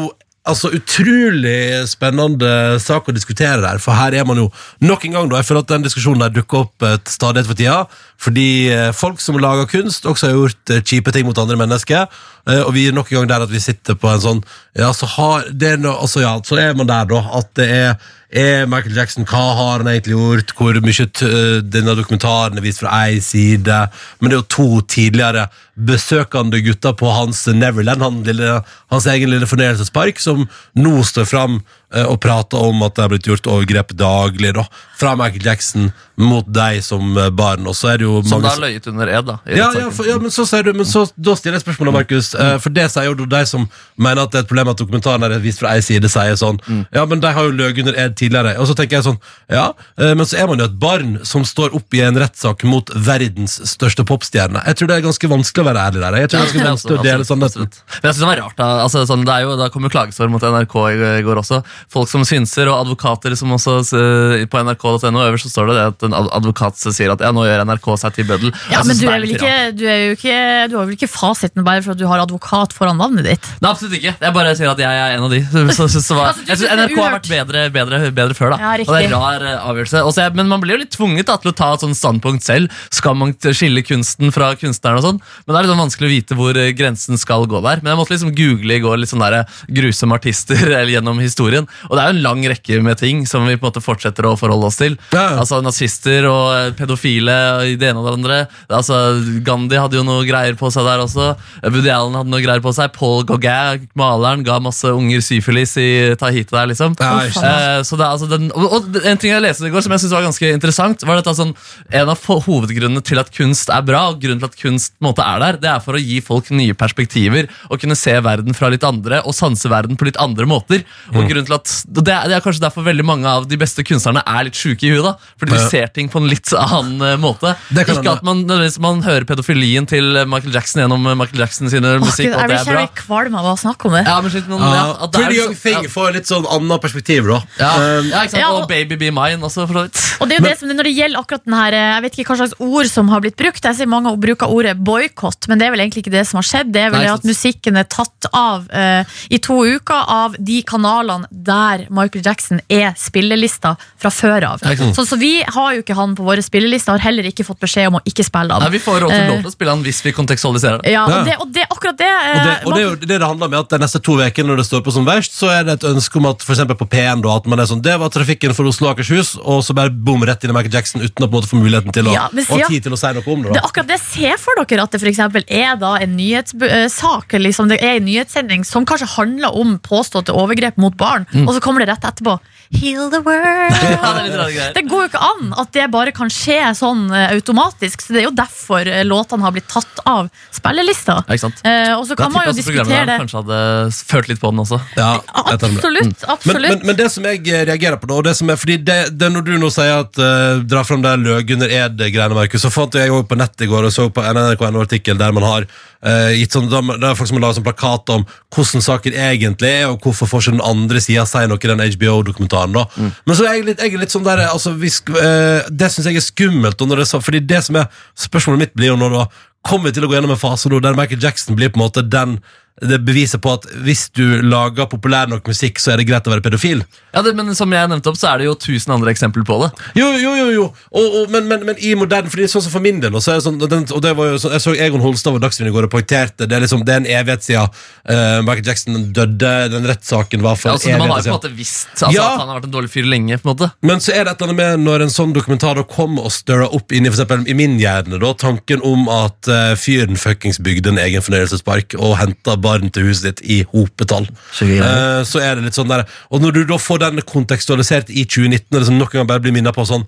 S2: Altså, Utrolig spennende sak å diskutere der, for her er man jo nok en gang da, Jeg føler at den diskusjonen der dukker opp eh, til stadighet for tida. Fordi eh, folk som lager kunst, også har gjort eh, kjipe ting mot andre mennesker. eh, Og vi er nok en gang der at vi sitter på en sånn Ja, så, har, det er noe, altså, ja, så er man der, da. At det er er Michael Jackson, hva har han egentlig gjort? Hvor mye t øh, denne dokumentaren er vist fra ei side? Men det er jo to tidligere besøkende gutter på hans Neverland, han lille, hans egen lille fornøyelsespark, som nå står fram øh, og prater om at det er blitt gjort overgrep daglig, da. Fra Michael Jackson mot deg som øh, barn. Og så er det jo
S4: Som da
S2: mange
S4: har løyet under ed, da. i
S2: ja,
S4: rettssaken.
S2: ja, for, ja, men så sier du Men så, da stiller jeg spørsmålet, Markus
S4: Mm.
S2: eh, For det sier jo de som mener at det er et problem At dokumentaren er vist fra en side sier sånn
S4: Mm.
S2: Ja, men de har jo løg under ed tidligere Og så tenker jeg sånn, ja eh, Men så er man jo et barn som står opp i en rettssak Mot verdens største popstjerne Jeg tror det er ganske vanskelig å være ærlig der Jeg tror det er ganske
S4: Ja,
S2: vanskelig å
S4: absolutt,
S2: dele
S4: absolutt,
S2: sånn
S4: absolutt. Men jeg synes det var rart da. Altså, sånn, det er jo, da kom jo klagestorm mot NRK i går også folk som synser, og advokater som også eh, På nrk.no øverst så står det det at en ad- advokat sier at ja, nå gjør NRK seg til bøddel.
S3: Ja,
S4: Jeg
S3: men
S4: synes
S3: du,
S4: det
S3: er vel
S4: litt
S3: ikke,
S4: rart.
S3: du, er jo ikke, du har vel ikke fasiten bare for at du har advokat foran navnet ditt?
S4: Nei, absolutt ikke. Jeg bare sier at jeg er en av de. Så, så, så, så, var-
S3: Altså, du
S4: jeg
S3: synes det
S4: synes
S3: er
S4: NRK har vært bedre, bedre, bedre før, da.
S3: Ja,
S4: og det er
S3: riktig.
S4: rar eh, avgjørelse. Og så er- men man blir jo litt tvunget da, til å ta et sånt standpunkt selv. Skal man t- skille kunsten fra kunstneren og sånn? Men det er litt sånn vanskelig å vite hvor eh, grensen skal gå der. Men jeg måtte liksom google i går litt sånn der, eh, grusomme artister eller gjennom historien. Og det er jo en lang rekke med ting som vi på en måte fortsetter å forholde oss til.
S2: Ja, ja.
S4: Altså nazister og eh, pedofile og i det ene og det andre. Altså Gandhi hadde jo noe greier på seg der også. Eh, Woody Allen hadde noe greier på seg. Paul Gauguin, maleren, ga masse unger syfilis i Tahiti der, liksom.
S2: Ja, ikke sant.
S4: Eh, så det er altså den, og, og en ting jeg leste i går som jeg synes var ganske interessant, var dette sånn En av ho- hovedgrunnene til at kunst er bra, og grunnen til at kunst på en måte er der, det er for å gi folk nye perspektiver og kunne se verden fra litt andre og sanse verden på litt andre måter. Og
S2: Mm.
S4: grunnen til at og det, er, det er kanskje derfor veldig mange av de beste kunstnerne er litt sjuke i huet. da Fordi de
S2: Ja.
S4: ser ting på en litt annen eh, måte.
S2: Det kan hende.
S4: Ikke at man nødvendigvis man hører pedofilien til eh, Michael Jackson gjennom eh, Michael Jackson sine
S3: Åh, Gud,
S4: musikk, og
S3: jeg blir
S4: at det er bra.
S3: kjærlig kvalm av å snakke om det.
S4: Ja, men slik, noen, ja,
S2: Ja,
S4: at det er
S2: Pretty Young
S4: liksom- ja.
S2: Thing får litt sånn annet perspektiv, da.
S4: Ja,
S2: Ehm,
S4: ja ikke sant?
S3: Ja,
S4: og,
S3: og-
S4: Baby Be Mine også, for så vidt.
S3: Og det er jo det som, Når det gjelder akkurat den her, eh, jeg vet ikke hva slags ord som har blitt brukt. Jeg ser Mange bruker ordet boikott, men det er vel egentlig ikke det som har skjedd. Det er vel
S4: Nei,
S3: det
S4: sant.
S3: at musikken er tatt av eh, i to uker av de kanalene der Michael Jackson er spillelista fra før av.
S4: Ja, ikke sant.
S3: så, så vi har jo ikke han på våre spillelister, har heller ikke fått beskjed om å ikke spille
S4: Nei,
S3: han.
S4: Vi får råd til
S3: Eh.
S4: lov til å spille han hvis vi kontekstualiserer det.
S3: Ja,
S2: Ja.
S3: og det, og det akkurat det, eh,
S2: Og det, og det er jo det det handler om, er at de neste to ukene når det står på som verst, så er det et ønske om at for eksempel på P1 da, at man er sånn, det var trafikken for Oslo og Akershus, og så bare boom rett inn i Michael Jackson uten å på en måte få muligheten til å,
S3: Ja, men
S2: og
S3: Sia-
S2: tid til å si noe om det. da.
S3: Det er akkurat det. Se for dere at det for eksempel er da en nyhetssak liksom det er en nyhetssending som kanskje handler om påståtte overgrep mot barn,
S2: Mm.
S3: og så kommer det rett etterpå. Heal the
S4: Ja, det er
S3: world.
S4: litt rare greier.
S3: Det går jo ikke an at det bare kan skje sånn eh, automatisk. Så Det er jo derfor eh, låtene har blitt tatt av spillelista.
S4: Ja, ikke sant?
S3: Eh, og så kan man jo diskutere det.
S4: Kanskje hadde følt litt på den også.
S2: Ja, jeg tar med det.
S3: Absolutt.
S2: Men, men,
S3: absolutt
S2: men det som jeg eh, reagerer på da, og det som er, fordi det, det når du nå sier at uh, dra fram det Løgunder Ed-greiene, Markus, så fant jeg jo på nettet i går og så på NRK.no-artikkel der man har eh, gitt sånn, da- det er folk som har laget sånn plakat om hvordan saken egentlig er, og hvorfor får ikke den andre siden si noe i den HBO-dokumentaren da. Men så er jeg litt, jeg er litt sånn der, altså, vi, sk- eh, det synes jeg er skummelt, og når det, er så- fordi det som er, spørsmålet mitt blir jo nå da, kommer vi til å gå gjennom en fase nå der Michael Jackson blir på en måte den det beviset på at hvis du lager populær nok musikk, så er det greit å være pedofil.
S4: Ja, det, men som jeg nevnte opp, så er det jo tusen andre eksempler på det.
S2: Jo, jo, jo, jo. Og, og, men, men, men i moderne Fordi sånn som for min del nå, så er det sånn, den, Og det var jo sånn, Jeg så Egon Holstad over Dagsrevyen i går og poengterte det. Er liksom, det er en evighet siden eh, Michael Jackson døde. Den rettssaken var for
S4: Ja, altså, man har jo på en
S2: evigheter
S4: måte visst altså,
S2: Ja.
S4: at han har vært en dårlig fyr lenge. på en måte
S2: Men så er det et eller annet med når en sånn dokumentar da kom og stirra opp inn i, for eksempel, i min hjerne da, tanken om at eh, fyren fuckings bygde en egen fornøyelsespark og henta barn til huset ditt i hopetall. Eh, så er det litt sånn der Og når du da får den kontekstualisert i 2019, og liksom noen gang bare blir minnet på sånn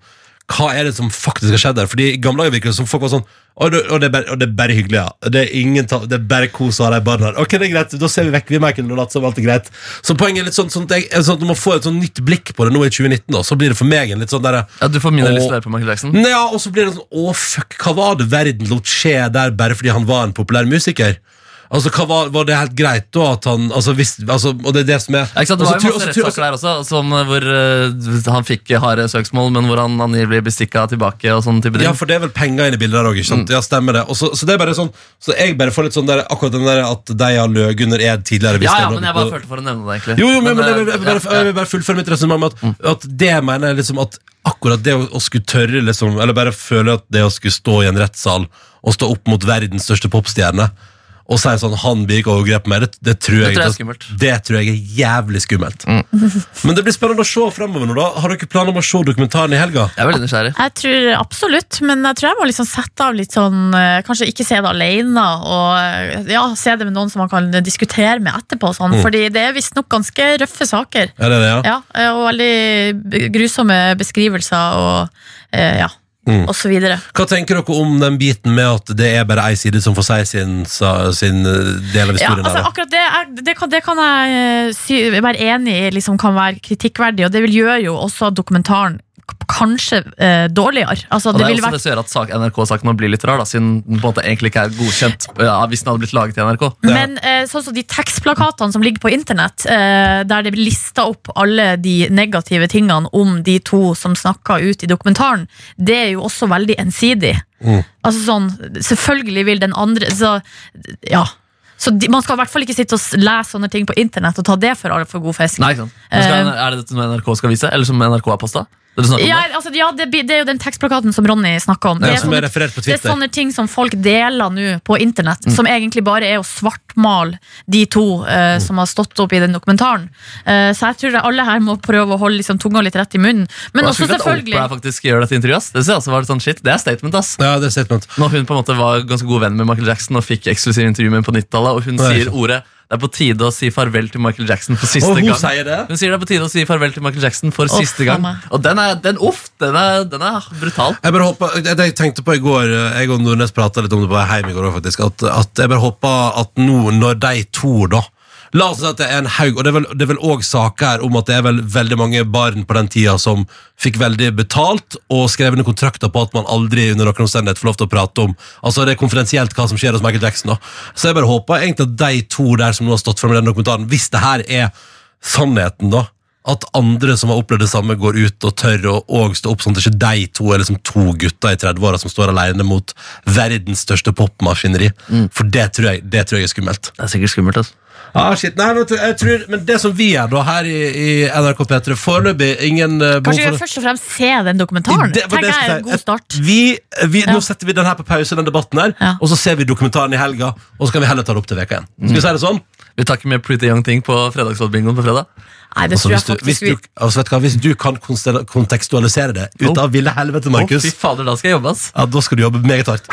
S2: hva er det som faktisk har skjedd der? Fordi I gamle dager virket det som folk var sånn Og det, og det, er, bare, og det er bare hyggelig, ja. Det er, ingen ta, det er bare kos å ha de barna her. Ok, det er greit, da ser vi vekk. Vi merker det og later som alt er greit. Så poenget er litt sånn, sånn at jeg, sånn at når man får et sånn nytt blikk på det nå i 2019, da, så blir det for meg en litt sånn derre
S4: Ja, Du får mindre
S2: Og-
S4: lyst til å være på Michael Jackson.
S2: Nei, ja, og så blir det sånn Å, fuck, hva var det verden lot skje der bare fordi han var en populær musiker? Altså, hva var, var det helt greit da at han altså, hvis, altså, Og det er det som er
S4: Ja, ikke sant? Det var
S2: Altså,
S4: jo
S2: tu-
S4: masse
S2: altså, tu-
S4: rettssaker der også, som, eh, hvor eh, han fikk harde søksmål, men hvor han angivelig blir stikka tilbake. og sånn type ting
S2: Ja, for det er vel penger inne i bildet der òg, ikke sant?
S4: Mm.
S2: Ja, stemmer det. Og så, så det er bare sånn Så jeg bare får litt sånn der akkurat den der at de har løyet under ed tidligere. hvis
S4: ja,
S2: det er
S4: ja,
S2: noe-
S4: men jeg bare følte for å nevne det, egentlig.
S2: Jo, jo, men, men, jeg, vil- jeg, vil
S4: eh,
S2: bare,
S4: ja, Mm.
S2: jeg vil bare fullføre mitt resonnement med at, at det mener jeg liksom at akkurat det å, å skulle tørre liksom, eller bare føle at det å skulle stå i en rettssal og stå opp mot verdens største popstjerne og si sånn 'han begikk overgrep på meg', det, det, tror,
S4: Det
S2: jeg,
S4: tror jeg er skummelt. Mm.
S2: det tror jeg er jævlig skummelt. Men det blir spennende å se fremover nå, da. Har dere planer om å se dokumentaren i helga?
S4: Jeg er veldig nysgjerrig.
S3: Jeg tror absolutt, men jeg tror jeg må liksom sette av litt sånn eh, Kanskje ikke se det alene, og eh, ja, se det med noen som man kan diskutere med etterpå. og Sånn.
S4: Mm.
S3: Fordi det er visstnok ganske røffe saker.
S2: Er det det, ja?
S3: Ja, eh, og veldig b- grusomme beskrivelser og eh, ja,
S2: Mm.
S3: og så videre.
S2: Hva tenker dere om den biten med at det er bare ei side som får si sin, sa- sin eh, del av
S3: Ja,
S2: historien?
S3: altså
S2: her, da?
S3: akkurat det, er, det, kan, det kan jeg eh, sy, være enig i liksom, kan være kritikkverdig, og det vil gjøre jo også at dokumentaren k- kanskje eh, dårligere. Altså,
S4: Og det
S3: det
S4: er
S3: ville
S4: også
S3: vært
S4: det som gjør at sak- NRK-saken nå blir litt rar, da, siden den på en måte egentlig ikke er godkjent ja, hvis den hadde blitt laget i NRK.
S3: Men eh, sånn som de tekstplakatene som ligger på internett, eh, der det blir lista opp alle de negative tingene om de to som snakka ut i dokumentaren, det er jo også veldig ensidig.
S2: Mm.
S3: Altså sånn, Selvfølgelig vil den andre så, Ja. Så de, Man skal i hvert fall ikke sitte og s- lese sånne ting på internett og ta det for, all- for god fisk.
S4: Nei, ikke sant? Men Skal, er det dette noe NRK skal vise, eller som NRK har posta? Det du snakker om
S3: Eh. Ja,
S4: nå?
S3: altså, ja det, blir- det er jo den tekstplakaten som Ronny snakka om.
S2: Ja,
S3: Det er
S2: som er
S3: sånne
S2: referert på
S3: Det er
S2: Twitter. Mm.
S3: sånne ting som folk deler nå på internett, som egentlig bare er å svartmale de to eh,
S2: Mm.
S3: som har stått opp i den dokumentaren. Eh, så jeg tror det alle her må prøve å holde liksom, tunga litt rett i munnen. Men
S4: Og
S3: også
S4: jeg synes at
S3: selvfølgelig
S4: Oprah faktisk gjør dette intervjuet. ass. Det synes jeg også var litt sånn shit, det er statement, ass.
S2: Ja, det er statement.
S4: Når hun på en måte var ganske god venn med Michael Jackson og fikk eksklusiv intervju med ham på 90-tallet, og hun
S2: Nei.
S4: sier ordet 'det er på tide å si farvel til Michael Jackson' for siste gang.
S2: det?
S4: Hun sier det er på tide å si farvel til Michael Jackson for
S3: Uff,
S4: siste gang.
S3: mamma.
S4: Og den er, den, uff, den er, den er brutal.
S2: Jeg bare håper, jeg, jeg tenkte på i går eh, Jeg og Nordnes pratet litt om det på vei hjem i går også, faktisk, at, at jeg bare håper at nå Når de to da La oss si at det er en haug, og det er vel- det er vel òg saker om at det er vel veldig mange barn på den tida som fikk veldig betalt og skrev under kontrakter på at man aldri under noen omstendighet får lov til å prate om Altså Det er konfidensielt hva som skjer hos Michael Jackson. da Så jeg bare håper egentlig at de to der som nå har stått frem i den dokumentaren, hvis det her er sannheten, da at andre som har opplevd det samme, går ut og tør å og stå opp, sånn at ikke de to er liksom to gutter i 30-åra som står alene mot verdens største popmaskineri. For det tror, jeg, det tror jeg er skummelt.
S4: Det er sikkert skummelt. ass.
S2: Ah, shit, nei, nå tror- jeg tror, men det som vi gjør da her i, i NRK P3 foreløpig ingen eh, behov
S3: Kanskje
S2: for
S3: vi
S2: det.
S3: først og fremst se den dokumentaren.
S2: Det var
S3: Tenker
S2: det jeg
S3: jeg er en
S2: skulle
S3: god
S2: si.
S3: start.
S2: Vi, vi,
S3: Ja.
S2: Nå setter vi den her på pause, den debatten her,
S3: Ja.
S2: og så ser vi dokumentaren i helga, og så kan vi heller ta det opp til veka igjen. Skal
S3: Mm.
S2: vi si det sånn?
S4: Vi tar ikke med Pretty Young Thing på fredagsrådbingoen på fredag.
S3: Nei, det
S2: Altså,
S3: tror
S2: hvis,
S3: jeg
S2: du, hvis,
S3: faktisk vi
S2: du, altså, vet du hva, hvis du kan konstella- kontekstualisere det ut
S4: Oh.
S2: av ville helvete,
S4: Å,
S2: Markus
S4: fy fader, da skal jeg jobbe, ass.
S2: Ja, da skal du jobbe meget hardt.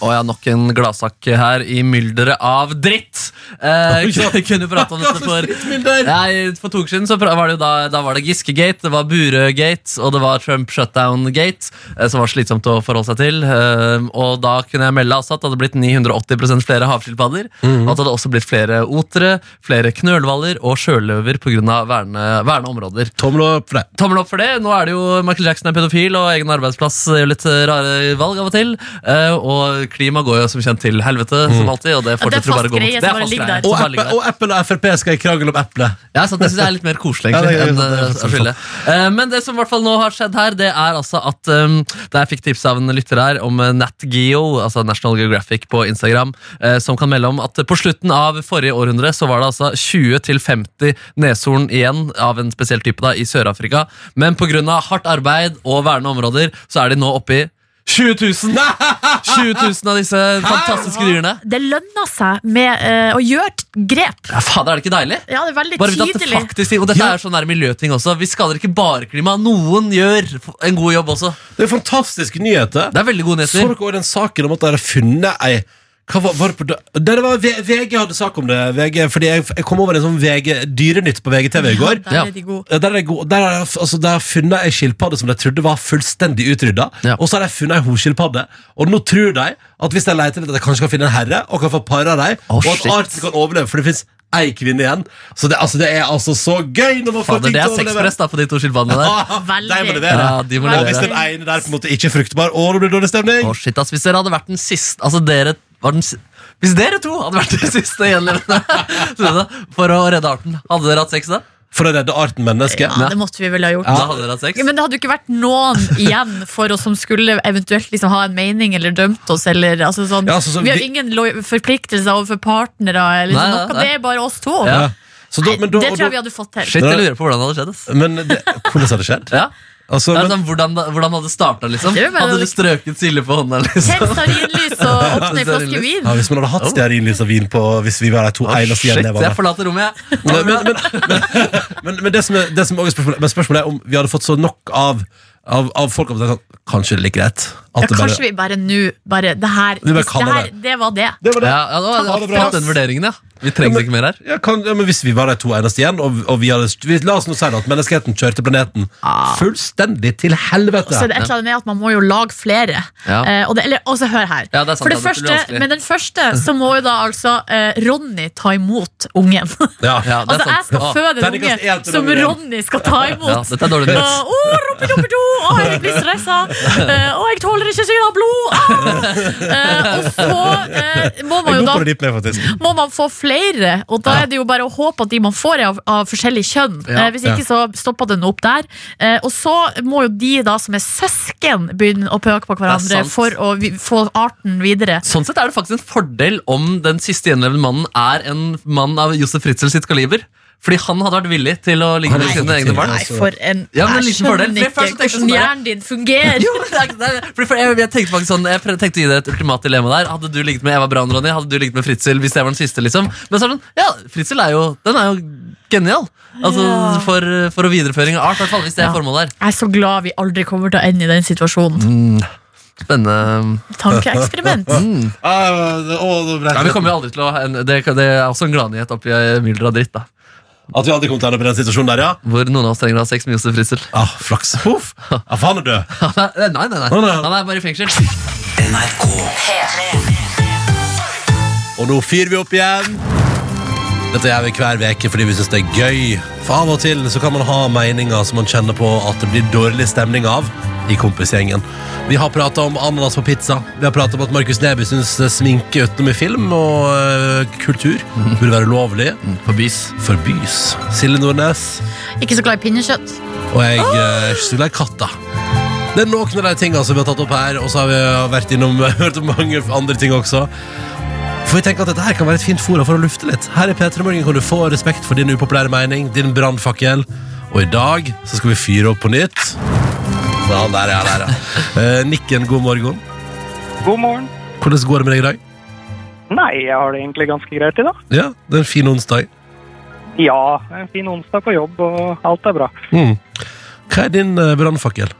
S4: Og jeg har nok en gladsak her i mylderet av dritt. Eh, kunne- kunne prate om dette for Nei, For to uker siden så pra- var det jo da, da var det Giske-gate, det var Burøe-gate og det var Trump shutdown-gate, eh, som var slitsomt å forholde seg til. Eh, og da kunne jeg melde altså at det hadde blitt 980 flere havskilpadder. Og at det hadde også blitt flere otere, flere knølhvaler og sjøløver pga. Verne, verne områder.
S2: Tommel opp for deg.
S4: Tommel opp for det. Nå er det jo Michael Jackson er pedofil, og egen arbeidsplass gjør litt eh, rare valg av og til. Eh, og klima går jo som kjent til helvete, som alltid. Og det
S3: Mm. Ja, det er
S4: fortsetter å bare
S3: fast
S4: gå mot.
S3: greie som bare ligger der.
S4: som
S2: Og,
S4: bare
S2: Apple,
S4: ligger der.
S2: og Apple og Frp skal i krangel om eplet.
S4: Ja, så det synes jeg er litt mer koselig
S2: Ja, det
S4: egentlig,
S2: er greit,
S4: enn
S2: det er
S4: eh,
S2: faktisk
S4: å skylde. Eh, Men det som i hvert fall nå har skjedd her, det er altså at um, da jeg fikk tips av en lytter her om eh, Nat Geo, altså National Geographic på Instagram, eh, som kan melde om at eh, på slutten av forrige århundre så var det altså 20-50 neshorn igjen av en spesiell type da, i Sør-Afrika. Men på grunn av hardt arbeid og vernede områder, så er de nå oppe i 20 000! 20 000 av disse fantastiske dyrene.
S3: Det lønner seg med eh, å gjøre et grep.
S4: Ja, fader, er det ikke deilig?
S3: Ja, det er veldig
S4: Bare vite at det
S3: tidlig.
S4: faktisk Og dette er sånn der miljøting også. Vi skader ikke bare klima. Noen gjør f- en god jobb også.
S2: Det er fantastiske nyheter.
S4: Det er veldig gode
S2: Så
S4: nyheter.
S2: dere også den saken om at dere har funnet ei hva var, var det på, dø- Der det var V- VG hadde sak om det, VG, fordi jeg, jeg kom over en sånn VG Dyrenytt på VGTV i går.
S3: Der er de gode.
S2: Ja, Der har de go- der har de altså, der har de funnet ei skilpadde som de trodde var fullstendig utrydda.
S4: Ja.
S2: Og så har de funnet ei hoskilpadde. Og nå tror de at hvis de leter etter at de kanskje kan finne en herre, og kan få para dem,
S4: Å,
S2: og at
S4: shit.
S2: arten kan overleve, for det fins ei kvinne igjen. Så det, altså, det er altså så gøy når man får
S4: Fader,
S2: ting til
S4: det er
S2: å overleve.
S4: sexpress da på de to skilpaddene der.
S2: Ah,
S3: Veldig.
S2: de må levere.
S4: Ja, de må
S3: Nei,
S2: Og hvis
S4: levere.
S2: den ene der på en måte ikke er fruktbar, og det blir dårlig stemning
S4: Å, shit, ass. Hvis dere hadde vært den siste Altså, dere var den si- Hvis dere to hadde vært de siste gjenlevende tror du det? for å redde arten, hadde dere hatt sex da?
S2: For å redde arten menneske.
S3: Ja, det måtte vi vel ha gjort.
S4: Da hadde dere hatt sex.
S3: Ja, men det hadde jo ikke vært noen igjen for oss som skulle eventuelt liksom ha en mening eller dømt oss. Eller, altså sånn,
S2: Ja, altså, så
S3: vi har
S2: vi-
S3: ingen lo- forpliktelser overfor partnere. Eller
S4: Nei,
S3: sånn,
S4: nei,
S3: noe,
S4: nei.
S3: Det er bare oss to.
S4: Ja.
S2: Så da, men da,
S3: det
S2: og
S3: tror jeg vi
S2: da,
S3: hadde fått til.
S4: Shit, jeg lurer på hvordan det hadde skjedd. Ass.
S2: men det, hvordan har det skjedd?
S4: Ja.
S2: Altså,
S4: Det er
S2: men,
S4: sånn, hvordan, hvordan hadde det starta, liksom?
S3: Det er jo bare-
S4: Hadde du strøket Silje på hånda? liksom?
S3: Tenn stearinlys og åpne ei flaske
S4: Stearinlys.
S3: vin.
S2: ja, hvis man hadde hatt stearinlys og vin på Hvis vi var de to
S4: Å,
S2: eneste
S4: shit, jeg
S2: gjenlevende
S4: forlater rommet, jeg.
S2: men, men, men, men, men det som er, det som også er spørsmålet, men spørsmålet er om vi hadde fått så nok av, av, av folk at det er sånn, Kanskje det er like greit at
S3: Ja,
S2: det bare
S3: kanskje vi bare nå bare, det, her,
S2: Vi bare
S3: det,
S2: kaller
S3: her,
S2: det.
S3: det var det.
S2: Det var det.
S4: Ja, ja, da,
S3: Ha
S4: hadde
S3: det
S4: jeg
S3: bra,
S4: fått den
S3: ass.
S4: vurderingen, ja. Vi trenger ikke mer her.
S2: Ja, kan, ja, men Hvis vi var de to eneste igjen, og, og vi hadde vi, La oss nå si det at menneskeheten kjørte planeten fullstendig til
S3: Og Ah. så er
S2: helvete.
S3: det et eller annet med at man må jo lage flere.
S4: Ja.
S3: Eh, og det, eller, altså, hør her.
S4: Ja, det er sant,
S3: For det
S4: det er utrolig
S3: første,
S4: vanskelig.
S3: med den første så må jo da altså eh, Ronny ta imot ungen.
S2: Ja.
S4: Ja, det er
S3: altså, jeg
S4: sant.
S3: skal
S4: Ja.
S3: føde en
S2: Terningkast
S3: unge
S2: én til
S3: som
S2: nummer én.
S3: Ronny skal ta
S4: Ja,
S3: imot.
S4: dette er dårlig
S3: Å,
S4: nytt.
S3: rumpedumpedum! Å, jeg blir stressa! Eh, Å, jeg tåler ikke syn av blod! Ah! Eh, og så eh, må man
S2: Jeg
S3: jo
S2: går
S3: da
S2: på det ditt med, faktisk.
S3: må man få flere, og da er det jo bare å håpe at de man får er av, av forskjellig kjønn.
S4: Ja.
S3: Eh, hvis ikke så stopper den opp der. Eh, og så må jo de da som er søsken begynne å pøke på hverandre
S4: sant.
S3: for å vi, få arten videre.
S4: Sånn sett er det faktisk en fordel om den siste gjenlevende mannen er en mann av Josef Fritzl sitt kaliber. Fordi han hadde vært villig til å ligge
S2: Han
S4: med
S2: hadde
S4: sine
S2: fått
S4: egne
S2: til,
S4: barn.
S2: ja.
S3: Nei, for en
S4: Ja, men en
S3: Jeg
S4: liten fordel,
S3: skjønner
S4: for jeg
S3: ikke
S4: først tenkte
S3: hvordan
S4: jeg sånn der-
S3: hjernen din fungerer.
S4: Jo, men det er ikke- det er- fordi for jeg, jeg tenkte faktisk sånn Jeg pre- tenkte å gi deg et ultimat dilemma der. Hadde du ligget med Eva Braun, Ronny? Hadde du ligget med Fritzl hvis jeg var den siste? liksom Men så er det sånn, ja, Fritzl er jo Den er jo genial. Altså
S3: Ja.
S4: for, for å videreføring av art, i hvert fall. Hvis det er
S3: Ja.
S4: formålet her.
S3: Jeg er så glad vi aldri kommer til å ende i den situasjonen.
S4: Spennende.
S3: Tankeeksperiment.
S2: Mm. Ah,
S4: Ja, vi kommer jo aldri til å en- Det, det er også en gladnyhet oppi eh, mylderet av dritt, da.
S2: At vi aldri kom til å ende opp i den situasjonen der, ja.
S4: Hvor noen av oss trenger å ha sex med Josef Fritzl.
S2: Ah, flaks. Huff. Ja, for han er død.
S4: Han er- Nei, nei, nei.
S2: Å, nei.
S4: Han er bare i fengsel.
S2: Og nå fyrer vi opp igjen. Dette gjør vi hver uke fordi vi syns det er gøy. For av og til så kan man ha meninger som man kjenner på at det blir dårlig stemning av i kompisgjengen. Vi har prata om ananas på pizza. Vi har prata om at Markus Neby syns sminke utenom i film og øh, kultur burde være ulovlig.
S4: Forbys.
S2: Forbys. Silje Nordnes.
S3: Ikke så glad i pinnekjøtt.
S2: Og jeg eh, er ikke så glad i katter. Det er noen av de tingene som vi har tatt opp her, og så har vi vært innom hørt om mange andre ting også. For vi tenker at dette her kan være et fint fora for å lufte litt. Her i P3 Morgen kan du få respekt for din upopulære mening, din brannfakkel. Og i dag så skal vi fyre opp på nytt. Ja, der er jeg, der er jeg. Eh, Nikken, god morgen.
S8: God morgen.
S2: Hvordan går det med deg i dag?
S8: Nei, jeg har det egentlig ganske greit i dag.
S2: Ja, det er en fin onsdag.
S8: Ja, en fin onsdag på jobb, og alt er bra.
S2: Mm. Hva er din eh, brannfakkel?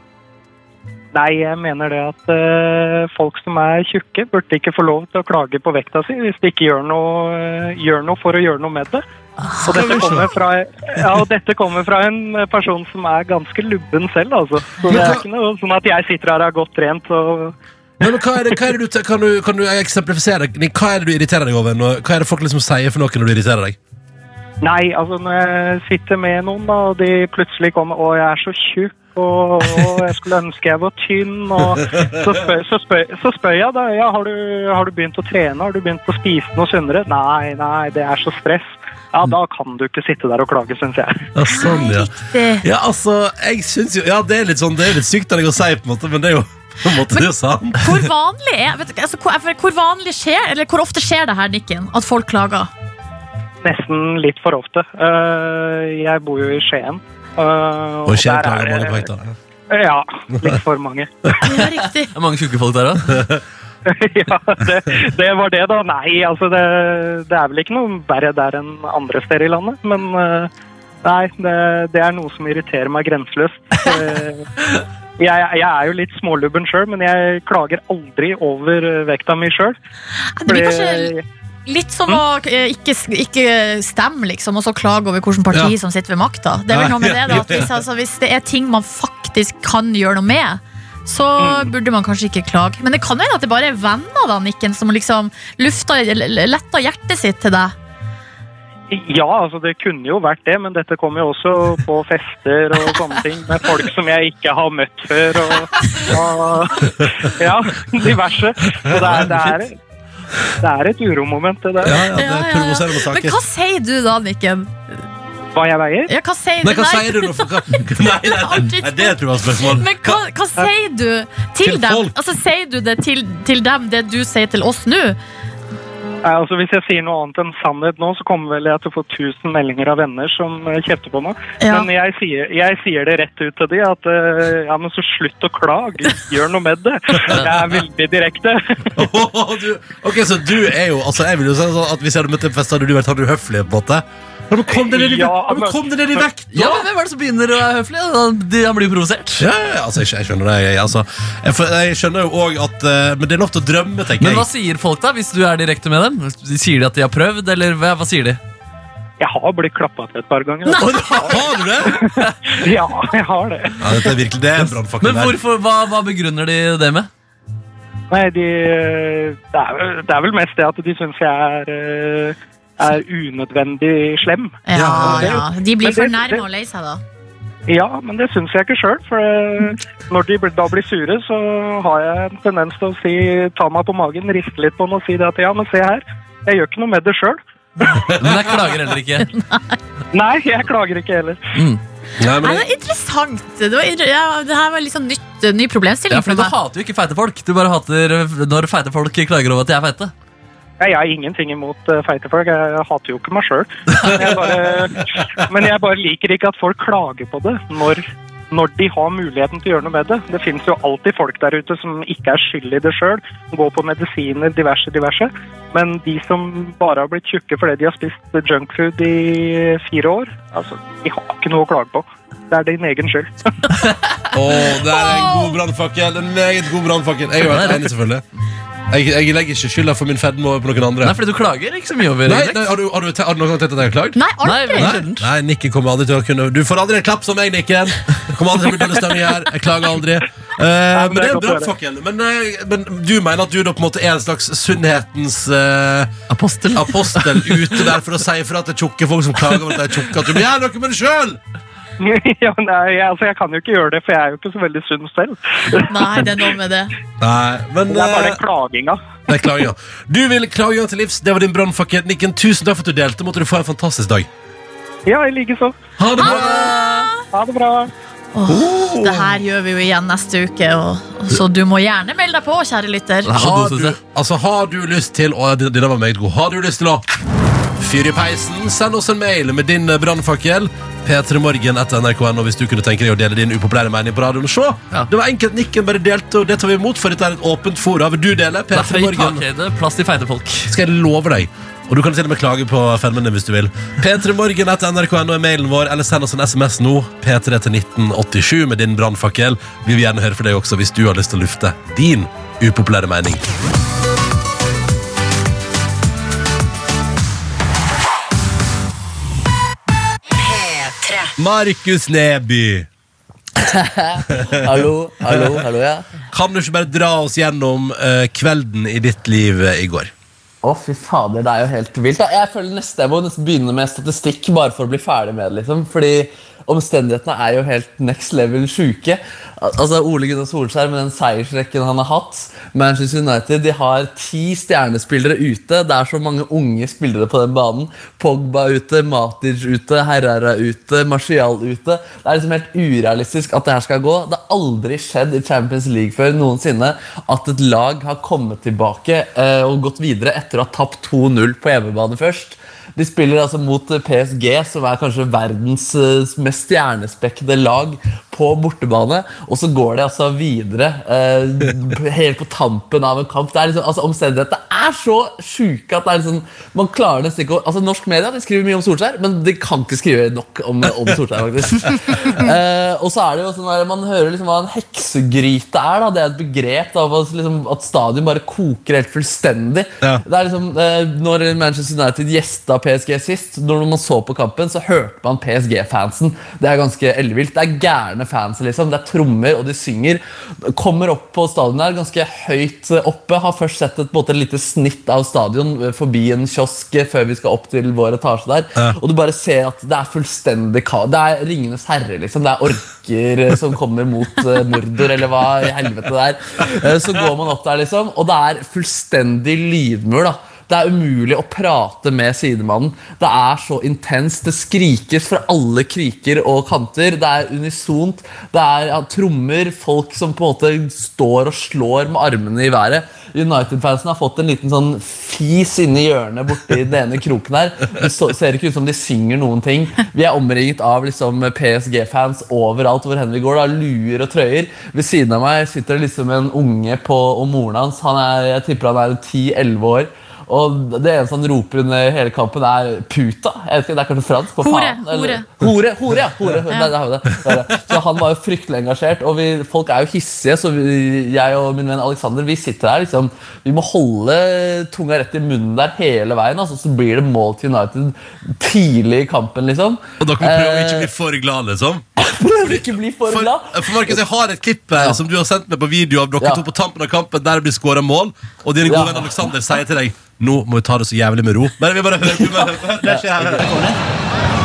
S8: Nei, jeg mener det at eh, folk som er tjukke, burde ikke få lov til å klage på vekta si hvis de ikke gjør noe, eh, gjør noe for å gjøre noe med det. Og dette, kommer fra, ja, og dette kommer fra en person som er ganske lubben selv, altså. Så det er ikke noe sånn at jeg sitter her og er godt trent. Og
S2: Men hva er det, hva er det du, te- kan, du, kan du eksemplifisere Nick, Hva er det du irriterer deg over? Når, hva er det folk liksom sier for noe når du irriterer deg?
S8: Nei, altså når jeg sitter med noen da, og de plutselig kommer og jeg er så tjukk og, og jeg skulle ønske jeg var tynn. Og så, spør, så, spør, så spør jeg da ja, har, du, har du begynt å trene, har du begynt å spise noe sunnere? Nei, nei, det er så stress. Ja, da kan du ikke sitte der og klage, syns jeg.
S2: Ja, sånn, ja.
S3: Det-
S2: ja altså, jeg syns jo Ja, det er litt sånn, det er litt sykt av deg å si, på en måte, men det er jo på en måte det er jo sant.
S3: Hvor vanlig er vet du, altså, hvor, hvor vanlig skjer, eller hvor ofte skjer det her, Nikken, at folk klager?
S8: Nesten litt for ofte. Eh, jeg bor jo i Skien. eh,
S2: Og Kjell klager
S8: det-
S2: mange på vekta.
S8: Ja, litt for mange.
S3: Ja, riktig.
S4: Det er mange tjukke folk der òg.
S8: ja, det, det var det, da. Nei, altså det, det er vel ikke noe verre der enn andre steder i landet. Men eh, nei, det, det er noe som irriterer meg grenseløst. Eh, Jeg, jeg er jo litt smålubben sjøl, men jeg klager aldri over eh, vekta mi sjøl.
S3: Det blir kanskje litt som å
S2: Mm.
S3: eh, ikke, ikke stemme, liksom, og så klage over hvilket parti
S2: Ja.
S3: som sitter ved makta. Det er vel noe med det, da. At hvis, altså, hvis det er ting man faktisk kan gjøre noe med, så
S2: Mm.
S3: burde man kanskje ikke klage. Men det kan jo hende at det bare er venner da, Nikken, som liksom lufta, letta hjertet sitt til deg.
S8: Ja, altså det kunne jo vært det, men dette kommer jo også på fester og sånne ting med folk som jeg ikke har møtt før og, og ja, diverse. Så det er, det er, det er et uromoment, det
S2: Ja,
S8: der.
S2: ja, det
S3: Ja, ja,
S2: er
S3: ja.
S2: provoserende
S3: Men
S2: saker.
S3: hva sier du da, Nikken?
S8: Hva jeg veier?
S3: Ja, hva sier
S2: Nei,
S3: du?
S2: hva
S3: Nei,
S2: sier du nå? For hva? Nei, nei, nei, det er et privatspørsmål.
S3: Men hva, hva sier du til,
S2: Til
S3: dem?
S2: folk.
S3: Altså, sier du det til, til dem, det du sier til oss nå?
S8: Nei, altså Hvis jeg sier noe annet enn sannhet nå, så kommer vel jeg til å få 1000 meldinger av venner som eh, kjefter på meg.
S3: Ja.
S8: Men jeg sier, jeg sier det rett ut til de at eh, ja, men så slutt å klage. Gjør noe med det. Jeg er veldig direkte.
S2: Åh, du, ok, så du er jo altså, jeg vil jo si sånn at Hvis jeg hadde møtt deg på fest, hadde du vært han uhøflige, på en måte? Ja, men kom dere ned i, ja,
S8: Ja,
S2: men kom dere ned i vekt!
S9: Ja, men Hvem er det som begynner å være høflig? da? De- Han blir jo provosert.
S2: Ja, ja, ja, altså, jeg, jeg skjønner det. Jeg, altså, jeg, for- jeg skjønner jo òg at eh, Men det er lov til å drømme, tenker
S9: Men hva
S2: jeg.
S9: sier folk, da, hvis du er direkte med dem? De Sier de at de har prøvd, eller hva, hva sier de?
S8: Jeg har blitt klappa til et par ganger. altså.
S2: Å, har du det?
S8: Ja, jeg har det.
S2: Ja, dette er virkelig det er en brannfakkel
S9: Men
S2: der.
S9: hvorfor, hva, hva begrunner de det med?
S8: Nei, de, det, er, vel- det er vel mest det at de syns jeg er, eh, er unødvendig slem.
S3: Ja,
S2: Ja,
S3: ja. De blir
S8: Men det-
S3: fornærma
S8: det-
S3: og lei seg, da.
S8: Ja, men det syns jeg ikke sjøl. For eh, når de blir- da blir sure, så har jeg en tendens til å si ta meg på magen, riste litt på den og si det at ja, men se her. Jeg gjør ikke noe med det sjøl.
S9: Men jeg klager heller ikke.
S8: Nei, jeg klager ikke heller.
S2: Nei, men
S3: Nei, det
S2: jeg,
S3: er interessant. Det, var, inter- ja, det her var litt sånn nytt, ny problemstilling
S9: Ja,
S3: for
S9: fordi Du
S3: meg.
S9: hater jo ikke feite folk. Du bare hater når feite folk klager over at de er feite.
S8: Ja, jeg har ingenting imot eh, feite folk. Jeg hater jo ikke meg sjøl. Men jeg bare liker ikke at folk klager på det når, når de har muligheten til å gjøre noe med det. Det finnes jo alltid folk der ute som ikke er skyld i det sjøl. Går på medisiner, diverse, diverse. Men de som bare har blitt tjukke fordi de har spist junkfood i fire år, altså, de har ikke noe å klage på. Det er din egen skyld.
S2: å, det er en god brannfakkel. En meget god brannfakkel. Jeg er jo helt enig, selvfølgelig. Jeg, jeg legger ikke skylda for min fedme over på noen andre.
S9: Nei, fordi du klager ikke så mye over
S2: Nei,
S9: Henrik.
S2: nei, har, du, har, du, te- har du noen gang tenkt at jeg har klagd?
S3: Nei,
S9: Nei,
S3: aldri!
S9: men-
S2: Nei, nei, Nikken kommer aldri til å kunne Du får aldri en klapp som meg, Nikken. Det kommer aldri til å bli dårlig stemning her. Jeg klager aldri. Eh, men det er en
S8: godt å høre.
S2: brannfakkel. Men, eh, men du mener at du da på en måte er en slags sunnhetens eh,
S9: Apostel.
S2: apostel ute der for å si ifra til tjukke folk som klager over at de er tjukke, at du må gjøre noe med det sjøl!
S8: ja, nei, jeg, altså, jeg kan jo ikke gjøre det, for jeg er jo ikke så veldig sunn selv.
S3: Nei, det er noe med det.
S2: Nei, men
S8: Det er bare
S2: eh,
S8: den klaginga.
S2: det er klaginga. Du vil klaginga til livs. Det var din brannfakkel. Nikken, tusen takk for at du delte. Måtte du få en fantastisk dag.
S8: Ja, i like så.
S2: Ha det bra!
S8: Ha det bra.
S3: Åh, Det her gjør vi jo igjen neste uke, og, og så du må gjerne melde deg på, kjære lytter.
S9: Nei.
S2: Har
S9: Og
S2: du,
S9: dosete.
S2: altså, har du lyst til å, det, det der var meget god. Har du lyst til å fyre i peisen? Send oss en mail med din eh, brannfakkel. P3morgen etter nrk.no hvis du kunne tenke deg å dele din upopulære mening på radioen. Se,
S9: Ja.
S2: Det var enkelt. Nikken bare delte, og det tar vi imot, for dette er et åpent fora. Vil du dele?
S9: Det er høy
S2: P3morgen.
S9: takhøyde, plass til feite folk.
S2: Skal jeg love deg. Og du kan til og med klage på fedmen din hvis du vil. P3morgen etter nrk.no er mailen vår, eller send oss en SMS nå. P3 til 1987 med din brannfakkel. Vi vil gjerne høre fra deg også hvis du har lyst til å lufte din upopulære mening.
S10: P3.
S2: Markus Neby,
S9: Hallo, hallo, hallo, ja.
S2: kan du ikke bare dra oss gjennom eh, kvelden i ditt liv eh, i går?
S4: Å, fy fader, det er jo helt vilt. da. Jeg føler nesten jeg må nesten begynne med statistikk bare for å bli ferdig med det. liksom. Fordi omstendighetene er jo helt next level sjuke. Al- Altså, Ole Gunnar Solskjær med den seiersrekken han har hatt. Manchester United de har ti stjernespillere ute. Det er så mange unge spillere på den banen. Pogba ute, Matic ute, Herrera ute, Martial ute. Det er liksom helt urealistisk at det her skal gå. Det har aldri skjedd i Champions League før noensinne at et lag har kommet tilbake eh, og gått videre etter å ha tapt 2-0 på hjemmebane først. De spiller altså mot eh, PSG, som er kanskje verdens eh, mest stjernespekkede lag på bortebane, og så går de altså videre eh, helt på tampen av en kamp. Det er liksom, altså Omstendighetene er så sjuke at det er liksom, man klarer nesten ikke å Altså Norsk media de skriver mye om Solskjær, men de kan ikke skrive nok om, om Solskjær. faktisk eh, Og så er det jo sånn der, Man hører liksom hva en heksegryte er. da Det er et begrep da, hva som liksom, at stadion bare koker helt fullstendig.
S2: Ja.
S4: Det er liksom, eh, når Manchester United gjesta PSG sist, når man så på kampen, så hørte man PSG-fansen. Det er ganske ellevilt. Det er gærne fans, liksom. Det er trommer, og de synger. Kommer opp på stadion der, ganske høyt oppe. Har først sett et, på en måte, lite snitt av stadion eh, forbi en kiosk eh, før vi skal opp til vår etasje der. Og du bare ser at det er fullstendig kaos. Det er Ringenes herre, liksom. Det er orker eh, som kommer mot eh, Mordor, eller hva i helvete det er. Eh, Så går man opp der, liksom, og det er fullstendig lydmur. da det er umulig å prate med sidemannen. Det er så intenst. Det skrikes fra alle kriker og kanter. Det er unisont. Det er ja, trommer, folk som på en måte står og slår med armene i været. United-fansen har fått en liten sånn fis inni hjørnet borti den ene kroken her. Det så, ser ikke ut som de synger noen ting. Vi er omringet av liksom PSG-fans overalt hvor hen vi går. da, Luer og trøyer. Ved siden av meg sitter det liksom en unge på, og moren hans han er, jeg tipper han er 10-11 år. Og det eneste han roper under hele kampen, er 'puta'. Jeg vet ikke, Det er kanskje fransk? på
S3: Hore,
S4: faen, eller- Hore, hore, ja. Hore, Der, der har vi det. Der, er det. Så han var jo fryktelig engasjert. Og vi, folk er jo hissige, så vi, jeg og min venn Alexander vi sitter her liksom Vi må holde tunga rett i munnen der hele veien, altså, så blir det mål til United tidlig i kampen, liksom.
S2: Og dere må prøve å ikke bli for glad, liksom.
S4: Prøv ikke å bli for
S2: For,
S4: glad.
S2: for Markus, jeg har et klipp her som du har sendt meg på video av dere
S4: Ja.
S2: to på tampen av kampen der det blir skåra mål, og din
S4: Ja.
S2: gode venn Alexander sier til deg nå må vi ta det så jævlig med ro. Men vi bare hører på meg. Det skjer her.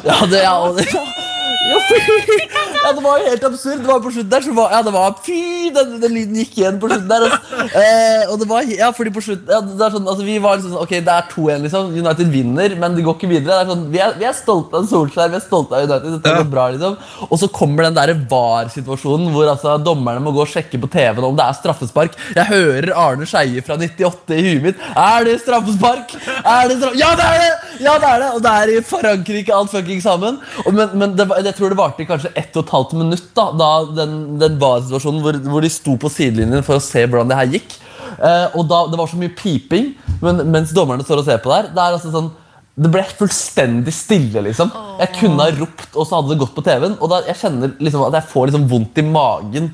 S4: Ja, det, ja, og det, ja, fy, ja, det var jo helt absurd. Det var på slutten der, så var, ja, det var fy, den, den lyden gikk igjen på slutten der. Altså. Eh, og det var, he- ja, fordi på slutten, ja, det er sånn, altså, vi var liksom sånn, ok, det er 2-1 liksom, United vinner, men det går ikke videre. Det er sånn, vi er, vi er stolte av Solskjær, vi er stolte av United, dette går bra liksom. Og så kommer den der VAR-situasjonen, hvor altså dommerne må gå og sjekke på TV-en om det er straffespark. Jeg hører Arne Scheie fra 98 i huet mitt. Er det straffespark? Er det straff ja, det er det! Ja, det er det! Og det er i Frankrike, alt fucking sammen. Og, men men det, var- jeg tror det varte i kanskje ett og et halvt minutt, da, da den, den VAR-situasjonen hvor, hvor de sto på sidelinjen for å se hvordan det her gikk. Eh, og da, Det var så mye piping men, mens dommerne står og ser på der. Det er altså sånn det ble fullstendig stille, liksom. Jeg kunne ha ropt, og så hadde det gått på TV-en. Og da, jeg kjenner liksom at jeg får liksom vondt i magen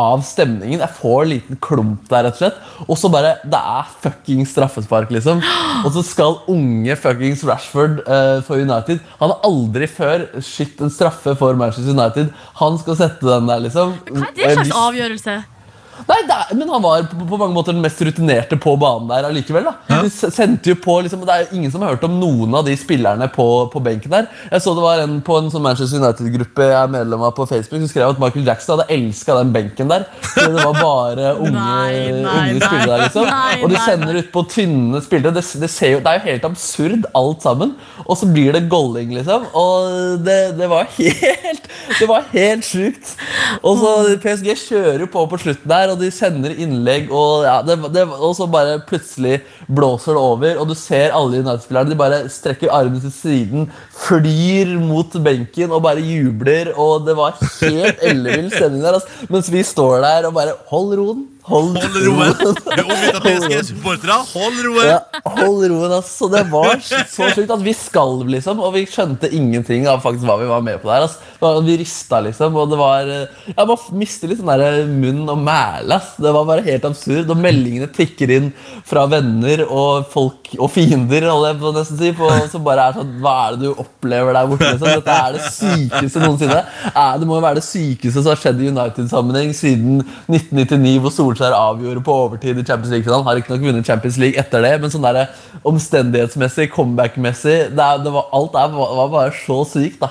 S4: av stemningen. Jeg får en liten klump der, rett og slett. Og så bare Det er fuckings straffespark, liksom. Og så skal unge fuckings Rashford eh, for United Han har aldri før skutt en straffe for Manchester United. Han skal sette den der, liksom.
S3: Hva er det
S4: Eh,
S3: slags
S4: hvis-
S3: avgjørelse?
S4: Nei, det er, men han var på, på mange måter den mest rutinerte på banen der allikevel. da. De s- sendte jo på, liksom, og Det er jo ingen som har hørt om noen av de spillerne på, på benken der. Jeg så det var en på en sånn Manchester United-gruppe jeg er medlem av på Facebook, som skrev at Michael Jackson hadde elska den benken der. fordi Det var bare unge,
S3: Nei, nei, nei.
S4: unge spillere der, liksom.
S3: Nei,
S4: og de
S3: nei,
S4: sender ut på tynne spillere. Det, det, ser jo, det er jo helt absurd, alt sammen. Og så blir det golling, liksom. Og det, det var helt Det var helt sjukt. Og så PSG kjører jo på på slutten der, og de sender innlegg, og, ja, det, det, og så bare plutselig blåser det over, og du ser alle United-spillerne. De bare strekker armene til siden, flyr mot benken og bare jubler, og det var helt ellevill stemning der, altså. Mens vi står der og bare Hold roen. Hold,
S2: Hold roen. Du er omgitt av PSG-supportere. Hold roen.
S4: ja, hold roen, altså. Det var så sjukt at vi skalv, liksom. Og vi skjønte ingenting av faktisk hva vi var med på der. Altså. Det var- Vi rista, liksom. Og det var Ja, man mister litt sånn der munn og mæle, ass. Det var bare helt absurd. Og meldingene tikker inn fra venner og folk og fiender, holder jeg på å nesten si, på, som bare er sånn Hva er det du opplever der borte, liksom? Dette er det sykeste noensinne. Eh, Det må jo være det sykeste som har skjedd i United-sammenheng siden 1999, hvor Solskjær avgjorde på overtid i Champions League-finalen. Har ikke nok vunnet Champions League etter det, men sånn der omstendighetsmessig, comeback-messig det er, det var, Alt er, var, var bare så sykt, da.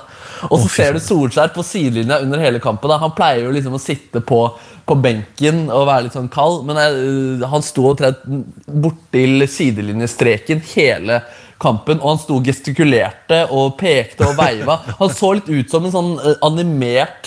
S4: Og så ser du Solskjær på sidelinja under hele kampen. da. Han pleier jo liksom å sitte på, på benken og være litt sånn kald, men jeg, øh, han sto omtrent bortil sidelinjestreken hele kampen, og han sto og gestikulerte og pekte og veiva. Han så litt ut som en sånn eh, animert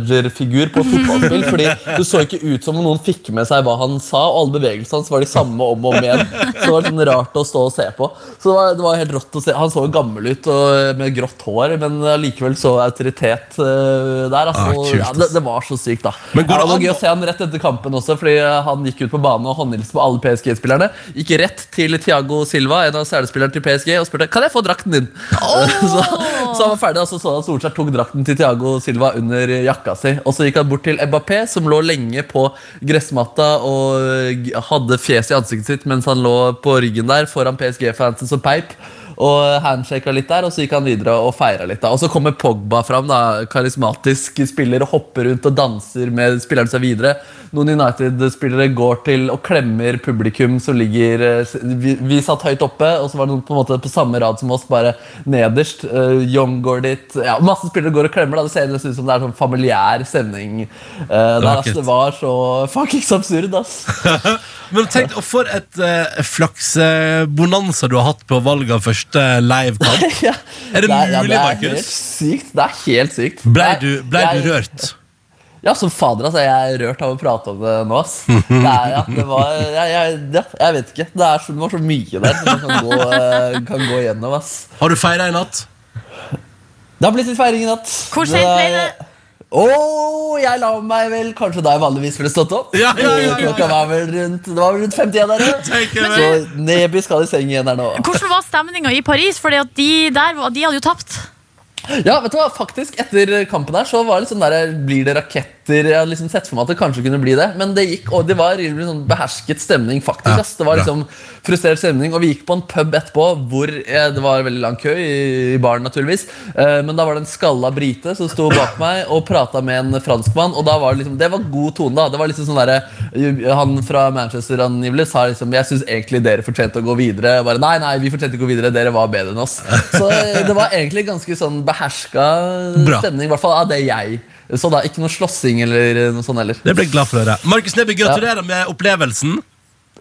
S4: managerfigur på et fotballspill. fordi det så ikke ut som om noen fikk med seg hva han sa, og alle bevegelsene hans var de samme om og om igjen. Så det var sånn rart å stå og se på. Så det var, det var helt rått å se. Han så jo gammel ut og eh, med grått hår, men allikevel så autoritet eh, der.
S2: Ah,
S4: Altså,
S2: kult,
S4: ja, det, det var så sykt, da.
S2: Men går
S4: Ja,
S2: det
S4: det var
S2: an
S4: gøy
S2: å-
S4: å se han rett etter kampen også, fordi eh, han gikk ut på banen og håndhilste på alle PSG-spillerne. Gikk rett til Thiago Silva, en av selespillerne til PSG, og spurte kan jeg få drakten din. så, så han var ferdig, og så så han at Solskjær tok drakten til Thiago Silva under jakka si. Og så gikk han bort til Mbappé, som lå lenge på gressmatta og eh, g- hadde fjeset i ansiktet sitt mens han lå på ryggen der foran PSG-fansen som peip. Og handshaka litt der, og så gikk han videre og feira litt. da Og så kommer Pogba fram, da karismatisk spiller, og hopper rundt og danser med spilleren seg videre. Noen United-spillere går til og klemmer publikum som ligger eh, s- Vi, vi satt høyt oppe, og så var det noen på en måte på samme rad som oss, bare nederst. Eh, Young går dit. Ja, masse spillere går og klemmer. da Det ser nesten ut som det er sånn familiær stemning. eh, der, ass,
S2: kult.
S4: det var så fuckings absurd, ass.
S2: Men tenk, og for et uh, flaksbonanza du har hatt på valget av første eh, livekamp.
S4: ja.
S2: Er det
S4: ja,
S2: mulig,
S4: det er
S2: Markus?
S4: helt Sykt. Det er helt sykt.
S2: Blei
S4: Jeg-
S2: du, ble
S4: jeg-
S2: du rørt?
S4: Ja, som fader, altså. Jeg er rørt av å prate om det nå, ass. Det er, ja, det var, jeg, jeg, ja, jeg vet ikke. Det, er, så- det var så mye der som man kan gå, eh, kan gå gjennom, ass.
S2: Har du feira i natt?
S4: Det har blitt litt feiring i natt.
S3: Hvor sent ble det?
S4: Å, jeg la meg vel kanskje da jeg vanligvis ville stått opp.
S2: Ja, ja, ja, ja, ja.
S4: Klokka var vel rundt, det var vel rundt 51 der. ja. Så Neby skal i seng igjen her nå.
S3: Hvordan var stemninga i Paris? Fordi at de der var- de hadde jo tapt.
S4: Ja, vet du hva, faktisk Etter kampen her så var det sånn der Blir det raketter? Jeg hadde liksom sett for meg at det kanskje kunne bli det. Men det gikk, og det var rimelig sånn behersket stemning, faktisk.
S2: Ja,
S4: ass. Det var
S2: bra.
S4: liksom frustrert stemning. Og vi gikk på en pub etterpå hvor eh, det var veldig lang kø i, i baren, naturligvis. Eh, men da var det en skalla brite som sto bak meg og prata med en franskmann. Og da var det liksom Det var god tone, da. Det var liksom sånn derre Han fra Manchester angivelig sa liksom Jeg syns egentlig dere fortjente å gå videre. Jeg bare nei, nei, vi fortjente ikke å gå videre. Dere var bedre enn oss. Så eh, det var egentlig ganske sånn beherska
S2: Bra.
S4: stemning, i hvert fall av det jeg så da. Ikke noe slåssing eller noe sånt heller.
S2: Det ble jeg glad for å høre. Markus Neby, gratulerer med opplevelsen.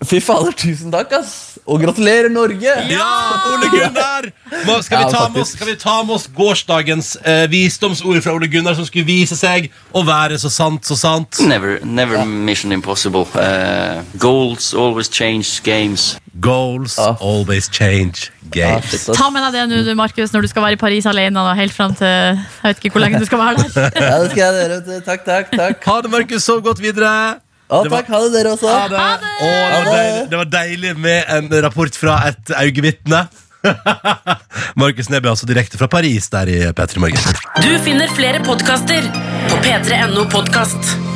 S4: Fy fader, tusen takk, ass! Og gratulerer, Norge!
S2: Ja, Ole Gunnar! Hva- Skal vi
S4: Ja,
S2: ta med
S4: faktisk.
S2: oss, skal vi ta med oss gårsdagens eh, visdomsord fra Ole Gunnar, som skulle vise seg å være så sant, så sant?
S11: Never, never mission impossible. Uh, goals always change games.
S2: Goals
S4: Ja.
S2: always change
S4: Ja,
S2: games.
S4: Ah, shit, ass.
S3: Ta med deg det nå, du, Markus, når du skal være i Paris alene. Da, helt frem til, jeg vet ikke hvor lenge du skal være der.
S4: Ja, det skal jeg gjøre. vet du. Takk, takk, takk.
S2: Ha det, Markus. Sov godt videre.
S4: Å,
S2: Det var-
S4: takk. Ha det, dere også.
S2: det. Å, det, var deilig, det var deilig med en rapport fra et øyevitne. Markus Neby, altså direkte fra Paris der i P3 Morgen.
S12: Du finner flere podkaster på p3.no podkast.